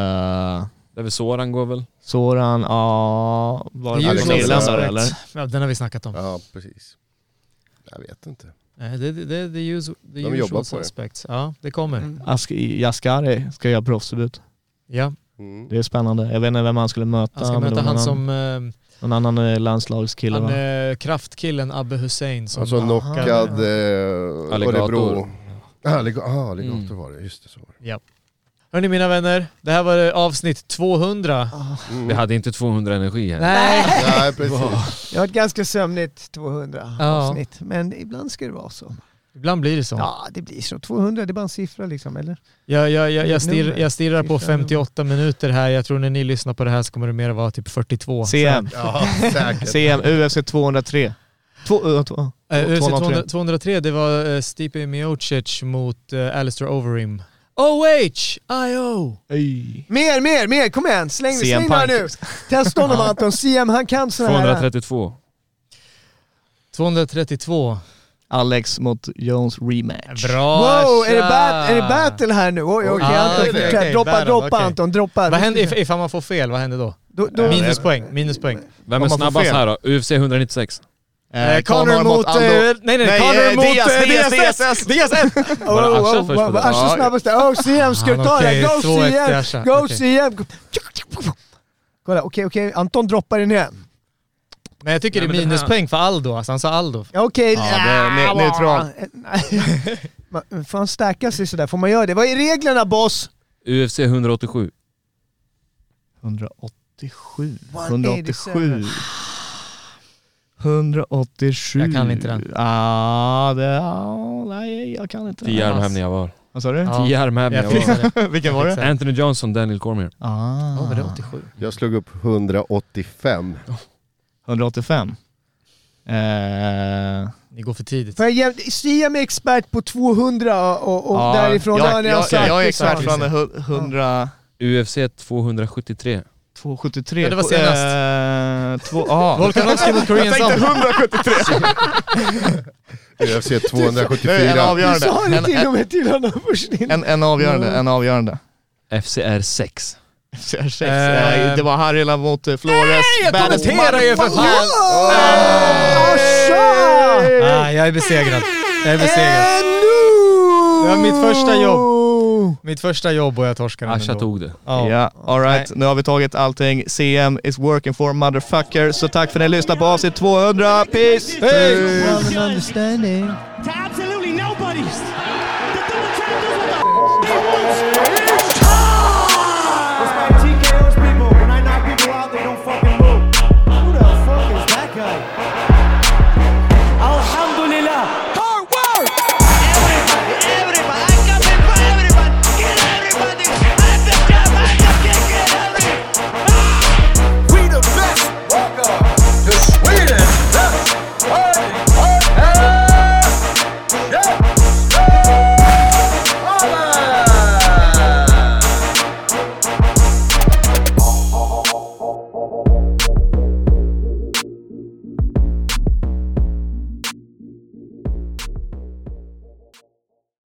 Speaker 7: Det är väl Soran går väl?
Speaker 5: Soran, ja... Var
Speaker 4: Det är
Speaker 5: det någon
Speaker 4: Djurgårdens aspekt.
Speaker 5: irländare eller?
Speaker 4: Ja, den har vi snackat om.
Speaker 8: Ja, precis. Jag vet inte.
Speaker 4: Nej, Det, det, det, det är us- the
Speaker 8: jobbar
Speaker 4: usual
Speaker 8: på det.
Speaker 4: suspects. Ja, det kommer.
Speaker 6: Mm.
Speaker 5: Ask- Jaskari ska göra proffsdebut.
Speaker 4: Ja,
Speaker 8: Mm.
Speaker 5: Det är spännande. Jag vet inte vem han skulle möta.
Speaker 4: han ska
Speaker 5: men det
Speaker 4: möta
Speaker 5: var
Speaker 4: han
Speaker 5: någon,
Speaker 4: som... eh,
Speaker 5: Någon annan eh, landslagskille
Speaker 4: han,
Speaker 5: va?
Speaker 4: eh, kraftkillen Abbe Hussein som...
Speaker 8: Alltså knockad
Speaker 4: ja.
Speaker 8: eh,
Speaker 7: Alligator.
Speaker 8: Örebro. Alligator. Ah, alligator
Speaker 7: Mm.
Speaker 8: var det, just det. Så var det.
Speaker 4: Hörni mina vänner, det här var eh, avsnitt 200.
Speaker 6: Ah.
Speaker 8: Mm.
Speaker 7: Vi hade inte 200 energi här.
Speaker 4: Nej!
Speaker 8: Nej, precis.
Speaker 7: <laughs>
Speaker 6: jag har ett ganska sömnigt 200
Speaker 4: Ja.
Speaker 6: avsnitt, men ibland ska det vara så.
Speaker 4: Ibland blir det så.
Speaker 6: Ja, det blir så. 200, det är bara en siffra liksom, eller?
Speaker 4: Jag, jag, jag, jag, stirr, jag stirrar på
Speaker 6: Nummer.
Speaker 4: 58 minuter här. Jag tror när ni lyssnar på det här så kommer det mer vara typ 42.
Speaker 5: CM,
Speaker 8: Ja, säkert.
Speaker 5: CM, UFC 203. Två, ö, två,
Speaker 4: Eh, UFC 200,
Speaker 5: 203.
Speaker 4: 203 det var eh, Stipe Miocic mot eh, Alistair Overeem. OH! IO!
Speaker 5: Öj.
Speaker 6: Mer, mer, mer! Kom igen! Släng,
Speaker 5: CM
Speaker 6: släng några nu!
Speaker 5: Punk.
Speaker 6: Testa honom Anton, CM, han kan sådana här.
Speaker 7: 232.
Speaker 4: 232.
Speaker 5: Alex mot Jones rematch.
Speaker 4: Bra
Speaker 6: Wow, är det,
Speaker 4: tja!
Speaker 6: bat- är det battle här nu? Oj, okej
Speaker 4: Ah,
Speaker 6: Anton,
Speaker 4: okej,
Speaker 6: fortsätt.
Speaker 4: okej,
Speaker 6: droppa,
Speaker 4: battle,
Speaker 6: droppa
Speaker 4: okej.
Speaker 6: Anton, droppa.
Speaker 4: Vad händer if- ifall man får fel? Vad händer då?
Speaker 6: Då, då, oh,
Speaker 4: Minuspoäng, minuspoäng.
Speaker 7: Vem är
Speaker 5: Om man får
Speaker 7: snabbast
Speaker 5: fel.
Speaker 7: här då? UFC 196.
Speaker 4: Eh, Connor mot... eh, nej, nej,
Speaker 5: Nej,
Speaker 4: Connor
Speaker 5: eh,
Speaker 4: mot...
Speaker 5: Diaz,
Speaker 4: eh,
Speaker 5: Diaz,
Speaker 4: Diaz S! Diaz S!
Speaker 6: oh,
Speaker 7: Var det
Speaker 6: oh,
Speaker 7: Asha
Speaker 6: oh,
Speaker 7: först på
Speaker 6: oh,
Speaker 7: det?
Speaker 6: Asha
Speaker 7: Ja.
Speaker 6: snabbast där. Oh, CM, ska du
Speaker 4: Han,
Speaker 6: ta det
Speaker 4: okej,
Speaker 6: här? Go
Speaker 4: 2-1 till Asha.
Speaker 6: CM! Go
Speaker 4: Okej.
Speaker 6: CM! Kolla, okej, okej. Anton droppar den igen.
Speaker 4: Men jag tycker
Speaker 7: Nej,
Speaker 4: det
Speaker 7: men
Speaker 4: är
Speaker 7: den här-
Speaker 4: minuspoäng för Aldo. Alltså, han sa Aldo.
Speaker 6: Ja, Okej.
Speaker 5: Ja, det är ne- neutral.
Speaker 6: <laughs> Man- Får han stärka sig sådär? Får man göra det? Vad är reglerna boss?
Speaker 7: UFC 187.
Speaker 5: 187.
Speaker 6: 187.
Speaker 5: 187. 187.
Speaker 4: Jag kan inte den.
Speaker 5: Mm. Ah, det, ah, nej, jag kan inte den.
Speaker 7: Tio
Speaker 5: alls.
Speaker 7: armhävningar var.
Speaker 5: Vad sa du?
Speaker 4: Ja.
Speaker 7: Tio armhävningar
Speaker 4: Jag
Speaker 7: var.
Speaker 4: fixade det.
Speaker 5: Vilken var det?
Speaker 7: Anthony Johnson, Daniel Cormier.
Speaker 5: Ah.
Speaker 4: Ja, var det 87?
Speaker 8: Jag slog upp 185.
Speaker 5: 185. Eh,
Speaker 4: Ni går för tidigt.
Speaker 6: För jag, jäm- CM är expert på 200 och, och
Speaker 5: ja,
Speaker 6: därifrån
Speaker 5: jag,
Speaker 6: har ni
Speaker 5: jag,
Speaker 4: alltså
Speaker 6: sagt
Speaker 5: jag, är
Speaker 6: liksom.
Speaker 5: expert från hu- 100...
Speaker 7: UFC 273.
Speaker 5: 273.
Speaker 4: Ja, det var senast.
Speaker 5: Eh, två, <laughs> ah.
Speaker 4: Volkanovski mot Korean Zombie.
Speaker 5: 173.
Speaker 8: <laughs> UFC
Speaker 5: Nej, en
Speaker 8: 274.
Speaker 6: Du
Speaker 5: avgörande.
Speaker 6: sa det
Speaker 5: En,
Speaker 6: till
Speaker 5: en,
Speaker 6: och Mm. med till honom först.
Speaker 5: en, en avgörande. En avgörande.
Speaker 7: FCR 6.
Speaker 5: Så jag sex. Eh, det var Harila mot eh, Flores.
Speaker 4: jag
Speaker 5: Baddest
Speaker 4: kommenterar
Speaker 5: man-
Speaker 4: ju för fan!
Speaker 5: Ah,
Speaker 6: Asha!
Speaker 4: Ah, jag är besegrad. Jag är besegrad.
Speaker 6: Ännu!
Speaker 4: Det var mitt första jobb. Mitt första jobb och jag torskade den
Speaker 7: Asha
Speaker 4: ändå.
Speaker 7: tog det.
Speaker 4: Ja.
Speaker 5: Ja, alright. Nu har vi tagit allting. CM is working for motherfucker. Så tack för att ni lyssnade på avsnitt 200. Peace!
Speaker 6: Love and understanding.
Speaker 1: To absolutely nobody. The double champ does what the f- he wants.